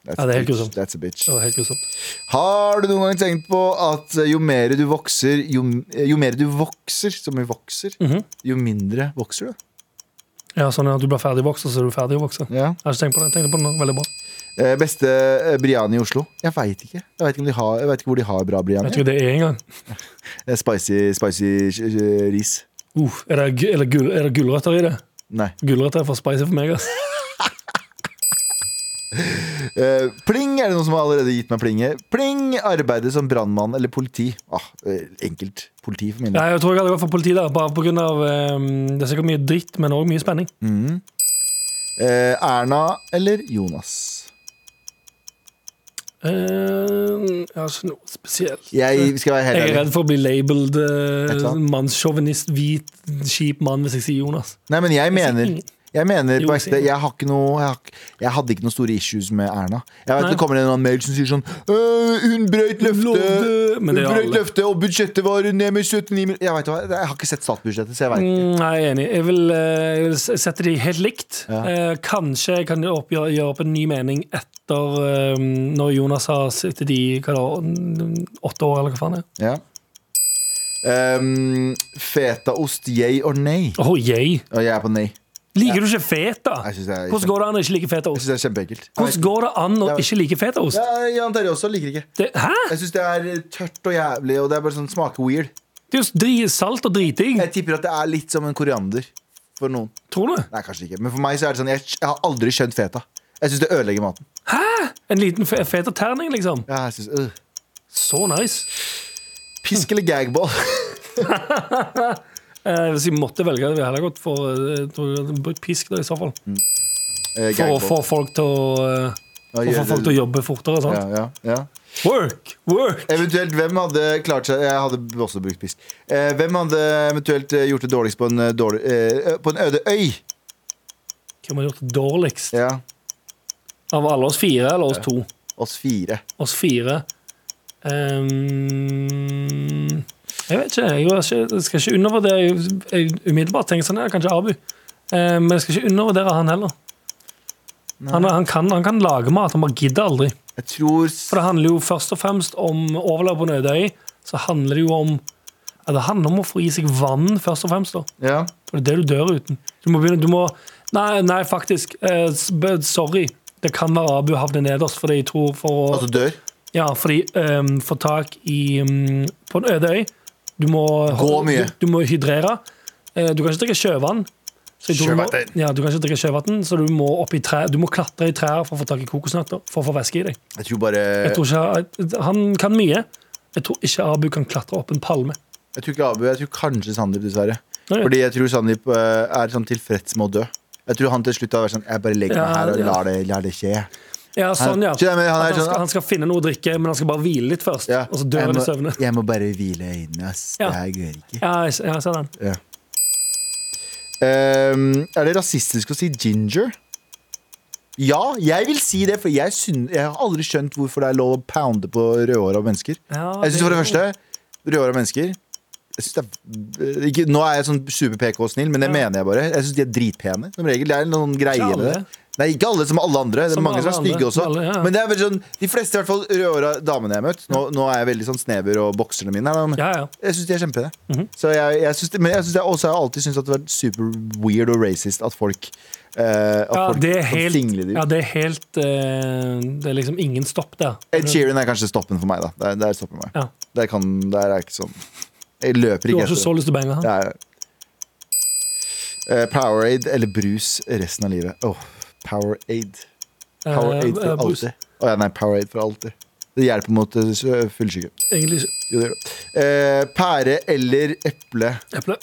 That's Ja, det er helt a bitch. grusomt. That's a bitch. Det var helt grusomt. Har du noen gang tenkt på at eh, jo mer du vokser, jo, eh, jo mer du vokser, som i vokser, Mhm. jo mindre vokser du? Ja, sånn at du blir ferdig vokst, og så er du ferdig vokst. Jeg Ja. har ikke tenkt på det. Jeg tenkte på det nå. Veldig bra. Eh, beste eh, Briani i Oslo? Jeg veit ikke. Jeg vet ikke, om de har, jeg vet ikke hvor de har bra Jeg Briani. vet ikke hva det er engang. Eh, Spicy, spicy sh- sh- ris. Uh, er det, gu- er det, gul, er det gulrøtter i det? Nei. Gulrøtter er for spicy for meg, ass. Eh, pling! Er det noen som har allerede gitt meg plinget? Pling! Arbeide som brannmann eller politi. Ah, eh, enkelt. Politi for min del. Nei, jeg tror jeg hadde gått for politi der, bare på grunn av um, Det er sikkert mye dritt, men òg mye spenning. Eh, Erna eller Jonas? Uh, jeg har ikke noe spesielt. Jeg skal være Jeg er helt ærlig. redd for å bli labeled Vet du uh, hva? mannssjåvinist, hvit, kjip mann hvis jeg sier Jonas. Nei, men jeg mener ingen. jeg mener Jo, på ekte, sier jeg. jeg, har ikke noe, jeg, har, ikke- jeg hadde ikke noen store issues med Erna. Jeg vet Nei. Det kommer en eller annen mail som sier sånn «Øh, Hun brøyt løftet! Lovde, men Hun det er brøyt alle. løftet, og budsjettet var ned med 79 mill. Jeg, vet hva, jeg har ikke sett statsbudsjettet, så jeg veit ikke. Mm, Nei, jeg er enig. Jeg vil, eh, jeg vil s- sette de helt likt. Ja. Eh, kanskje jeg kan oppgjøre, gjøre opp en ny mening etter eh, når Jonas har sittet i hva da, n- åtte år, eller hva faen det er. Ja. Um, fetaost, yay or nay? Åh, yay! Og jeg er på nei. Liker du ikke feta? Jeg synes det er- Hvordan går det an å ikke like Jeg fetaost? synes det er kjempeekkelt. Hvordan går det an å Jeg vet- ikke like fetaost? Ja, Jan Terje også liker ikke. Det, hæ? Jeg syns det er tørt og jævlig, og det er bare sånn smaker weird. Det er jo dri- salt og driting. Jeg tipper at det er litt som en koriander for noen. Tror du? Nei, kanskje ikke. Men for meg så er det sånn Jeg, jeg har aldri skjønt feta. Jeg syns det ødelegger maten. En liten fe- fetaterning, liksom. Ja, jeg synes, øh. Så nice. Pisk eller gagball? Eh, hvis jeg måtte velge, ville jeg heller gått for eh, tror jeg hadde brukt pisk da, i så fall. Eh, For å gagball. få folk til å, eh, Ja, for å eh, gjør få folk til det. å jobbe fortere og sånt. ja, ja, ja. Work, work. Eventuelt, hvem hadde klart seg Jeg hadde også brukt pisk. Eh, hvem hadde eventuelt eh, gjort det dårligst på en, eh, dårlig, eh, på en øde øy? Hvem har gjort det dårligst? Ja, Av alle oss fire, eller oss to? oss fire. Oss fire. Ehm, jeg vet ikke. Jeg, var ikke. jeg skal ikke undervurdere Jeg, jeg umiddelbart tenker sånn, ja, kanskje Abu. Ehm, men jeg skal ikke undervurdere han heller. Han, han, kan, han kan lage mat, han bare gidder aldri. Jeg tror s- For det handler jo først og fremst om overleve på Nødøy. Så handler det jo om ja, Det handler om å få i seg vann, først og fremst. da ja. For det er det du dør uten. Du må begynne, du må Nei, nei faktisk. Eh, s- b- sorry. Det kan være Abu havner nederst, fordi jeg tror for å Altså dør. ja, fordi ehm, få tak i ehm, På en øde øy. Du må, Gå mye. Du, du må hydrere. Eh, du kan ikke drikke sjøvann. Så jeg tror du må- Sjøvatten. Ja, du kan ikke drikke sjøvann, så du må, opp i trær, du må klatre i trær for å få tak i kokosnøtter. For å få væske i deg. Jeg tror bare Jeg tror ikke, eh, han kan mye. Jeg tror ikke Abu kan klatre opp en palme. Jeg tror ikke Abu, jeg tror kanskje Sandeep, dessverre. Nei. Fordi jeg tror Sandeep eh, er sånn tilfreds med å dø. Jeg tror han til slutt har vært sånn Jeg bare legger meg Ja, her og ja. lar det, lar det skje. Ja, sånn, ja. Så jeg mener, han er At han, sånn- skal, han skal finne noe å drikke, men han skal bare hvile litt først. Ja. Og så dør jeg, han i må, søvne. jeg må bare hvile øynene, ass. Ja. Det her går ikke. Ja, jeg, jeg ser den. Ehm, er det rasistisk å si ginger? Ja, jeg vil si det, for jeg, syn- jeg har aldri skjønt hvorfor det er lov å pounde på rødhåra mennesker. Ja, Jeg synes for det første Rødhåra mennesker jeg synes det er, ikke, Nå er jeg sånn super-PK og snill, men det Ja. mener jeg bare. Jeg syns de er dritpene. Som regel. Det er en sånn greie Ikke med det. alle. Nei, ikke alle som alle andre. Det er Som mange som er alle stygge andre. også. Alle, ja. Men det er veldig sånn de fleste i hvert fall rødhåra damene jeg har møtt Nå, nå er jeg veldig sånn snever og bokserne mine. her, da, men Ja, Mhm. ja. Jeg syns de er kjempene. Så jeg, jeg synes det, men jeg synes det, også har jeg alltid syntes at det har vært super weird og racist at folk eh, at Ja, folk det er kan helt, single de ut. ja, det er helt eh, Det er liksom ingen stopp der. Ed Sheeran er kanskje stoppen for meg, da. Der, der stopper meg. Ja. Der, kan, der er jeg ikke sånn Jeg løper Du ikke har ikke så lyst til å bange han. Det er Eh, Powerade eller brus resten av livet. Åh, Powerade. Powerade Eh, for eh, Bruce, alltid. Å ja, nei, Powerade for alltid. Det hjelper mot eh, s- fyllesyke. Egentlig ikke. Jo, det gjør det. Eh, pære eller eple? Eple.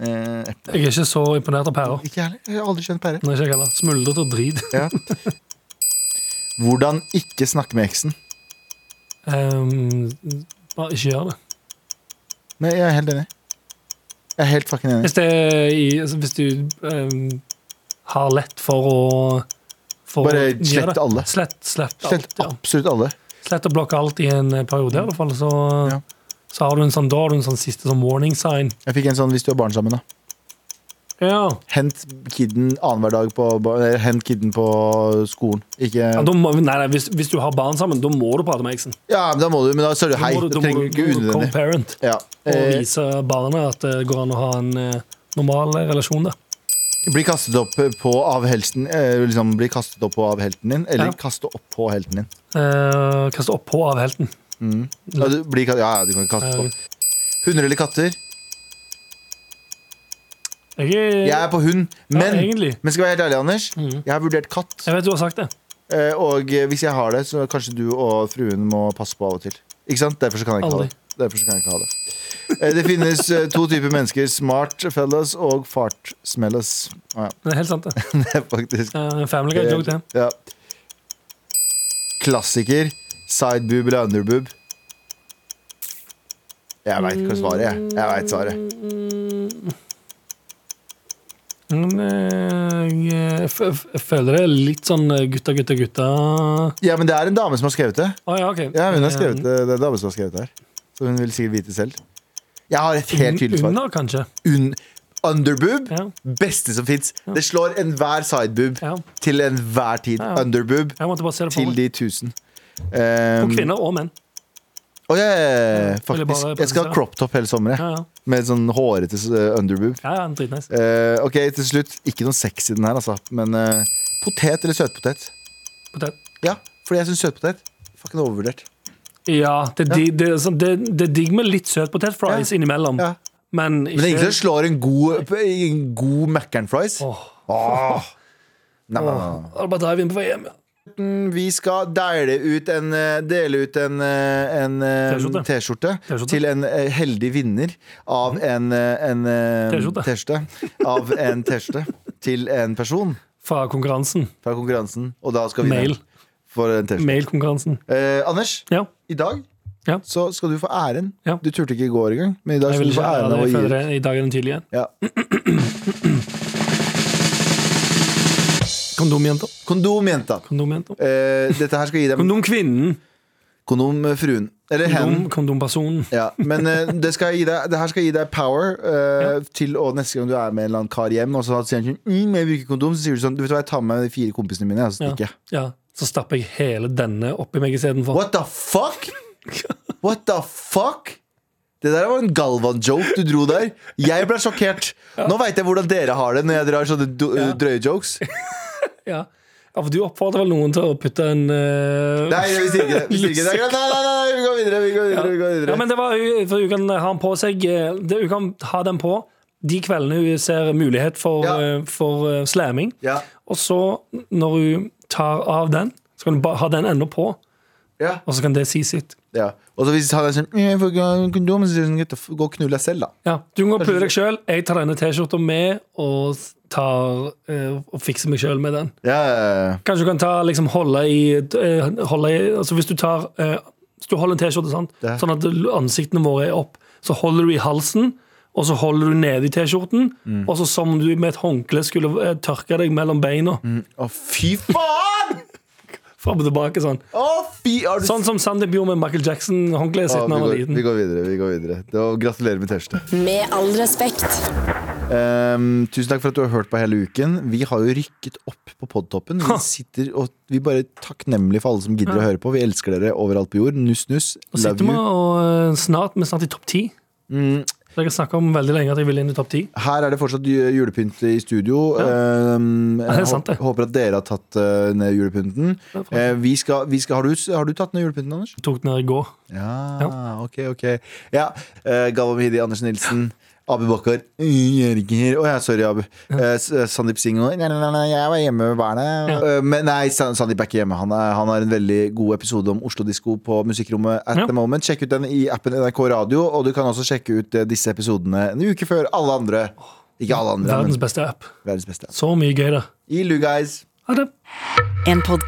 Eh, eple. Jeg er ikke så imponert av pærer. Ikke jeg heller. Jeg har aldri skjønt pære. Nei, ikke jeg heller. Smuldret og drit. Ja. Hvordan ikke snakke med eksen? Ehm, bare ikke gjør det. Nei, jeg er helt enig. Jeg er helt fucking enig. Hvis, det er i, altså, hvis du ehm, har lett for å for Bare å slett gjøre det. alle. Slett, slett, Slett alt, ja. absolutt alle. slett å blokke alt i en eh, periode, i hvert fall. Så, Ja. så har du en sånn, da har du en sånn siste sånn warning sign. Jeg fikk en sånn hvis du har barn sammen, da. Ja, Hent kidden annenhver dag på, ba- eh, hent kidden på skolen. Ikke ja da må, nei, nei, hvis, hvis du har barn sammen, da må du prate med eksen. Ja, men da må du, men da sier du Da hei. må du, Du da må trenger du, ikke du unødvendig. co-parent Ja. og Eh, vise barnet at det går an å ha en eh, normal relasjon der. bli kastet opp på av helten eh, liksom, Bli kastet opp på av helten din, eller Ja. kaste opp på helten din. Eh, kaste oppå av helten. Ja, du, bli, ka- ja, ja, du kan kaste Eh, på. Hunder eller katter? Eh, Jeg, er- Jeg er på hund, Ja, Mm. men, egentlig. men skal jeg være helt ærlig, Anders, jeg har vurdert katt. jeg vet du har sagt det. Eh, og eh, hvis jeg har det, så kanskje du og fruen må passe på av og til. Ikke sant? Derfor så kan jeg ikke Aldri. ha det. Derfor så kan jeg ikke ha det. Eh, det finnes eh, to typer mennesker. Smart fellas og fart smellas. Ah, Det er helt sant, det. ja, det er faktisk Eh, family guy joke, det. ja. Klassiker. Sideboob eller underboob? Jeg veit hva svaret er. Jeg vet svaret. Men eh, jeg, f- f- jeg føler det er litt sånn eh, gutta, gutta, gutta Å Ja, men det er en dame som har skrevet det. ja, OK. Ja, hun har skrevet det. Det er en dame som har skrevet det her. Så hun vil sikkert vite selv. Jeg har et helt tydelig svar. Under, kanskje. un underboob. Ja. Beste som fins. Det slår enhver sideboob Ja. til enhver tid. Ja, ja. Underboob Jeg måtte bare se det for til meg. de tusen. For Um, kvinner og menn. å, ja, ja, ja, ja, Vil jeg faktisk. bare Jeg skal ha presisere. crop top hele sommeren. Ja, jeg. ja. Med sånn hårete eh, underboob. ja, ja Dritnice. Eh, ok, til slutt. Ikke noe sex i den her, altså. Men eh, potet eller søtpotet? Potet. Ja, fordi jeg syns søtpotet fucking overvurdert. Ja, det, er di- det, er sånn- det, det er digg med litt søt potet fries Ja. innimellom. Ja. Men Men det er ingen som ikke slår en god, en god Mac'n fries. Åh. Åh. Nei, nei, nei. Bare drive inn på vei hjem. ja. Vi skal dele ut en, eh, dele ut en, eh, en eh, T-skjorte. T-skjorte T-skjorte. Mhm. til en eh, heldig vinner av en, eh, en eh, T-skjorte. T-skjorte. Av en T-skjorte til en person Fra konkurransen. fra konkurransen. Og da skal vi Mail. for en T-skjorte. Mailkonkurransen. Eh, Anders, Ja. i dag Ja. så skal du få æren. Ja. Du turte ikke i går engang, men i dag Jeg skal vil du få ikke æren av ære å deg gi for ut. det. I dag er den tydelig igjen. Ja. Kondomjenta. Kondom, jenta. Kondomjenta. Eh, dette her skal gi dem Kondomkvinnen. Kondom, eh, fruen. Eller hen. Kondom, kondompersonen. Ja, men eh, det, skal gi deg, det her skal gi deg power eh, til og neste gang du er med en eller annen kar hjem, og så sier han sånn mm, 'Jeg bruker kondom', så sier du sånn 'Du vet hva, jeg tar med de fire kompisene mine', og så stikker jeg. Ja. Så stapper jeg hele denne oppi meg istedenfor. What the fuck? What the fuck? Det der var en Galvan-joke du dro der. Jeg ble sjokkert. Nå veit jeg hvordan dere har det når jeg drar sånne do, Eh, drøye jokes. Ja. Ja, for du oppfordrer vel noen til å putte en eh, Nei, vi sier ikke det. Vi sier ikke det. Nei, nei, nei, nei, vi går videre. Vi går videre, vi går Ja, videre. men det var, jo- for Hun kan ha den på seg eh, det- Hun kan ha den på de kveldene hun ser mulighet for, Ja. eh, for eh, slamming. Ja, Og så, når hun tar av den, så kan hun bare ha den ennå på. ja, Og så kan det si sitt. ja. Og så hvis han er sånn «Mm, 'Jeg får ikke ha kondom', så sier han sånn 'Gå og knull deg selv', da. Ja, Du kan gå og pule deg sjøl. Jeg tar denne T-skjorta med og, tar, eh, og fikser meg sjøl med den. Ja, ja, ja. Kanskje du kan ta, liksom, holde i, eh, holde i altså Hvis du tar eh, Hvis du holder en T-skjorte, sant? Ja. sånn at ansiktene våre er opp, så holder du i halsen. Og så holder du nede i T-skjorten, Mm. og så som om du med et håndkle skulle eh, tørke deg mellom beina. Å, fy faen! Fram og tilbake sånn. Å, fy har du... Sånn som Sandeep gjorde med Michael Jackson-håndkleet Å, sitt da vi, han var går, liten. vi går videre. vi går videre det var, Gratulerer med T-skjorte. Med all respekt. Ehm, tusen takk for at du har hørt på hele uken. Vi har jo rykket opp på podtoppen. Vi sitter og vi er bare takknemlige for alle som gidder å høre på. Vi elsker dere overalt på jord. Nuss, nuss. Og sitter Love vi you. og eh, snart, vi er snart i topp ti. Mm. Jeg har snakka om veldig lenge at jeg vil inn i topp ti. Her er det fortsatt ju- julepynt i studio. Ehm, det er jeg sant, det. hå- håper at dere har tatt eh, ned julepynten. Det er Eh, vi skal, vi skal, har, du, har du tatt ned julepynten, Anders? Tok den her i går. Ja, Ja. ok, ok ja. eh, Galvan Mehidi, Anders Nilsen Abu Bakar Jørger Åja, sorry Abu Eh, S- eh, Sandeep Singh og- Nei, nei, nei, nei, jeg var hjemme med barnet Eh, Men nei, San Sandeep er ikke hjemme han, er, han har en veldig god episode om Oslo Disco På musikkrommet at Ja. the moment Sjekk ut den i appen NRK Radio Og du kan også sjekke ut eh, disse episodene En uke før alle andre Ikke alle andre, Verdens men beste app. verdens beste Så mye gøy der. Ilu guys Ha det. En podkast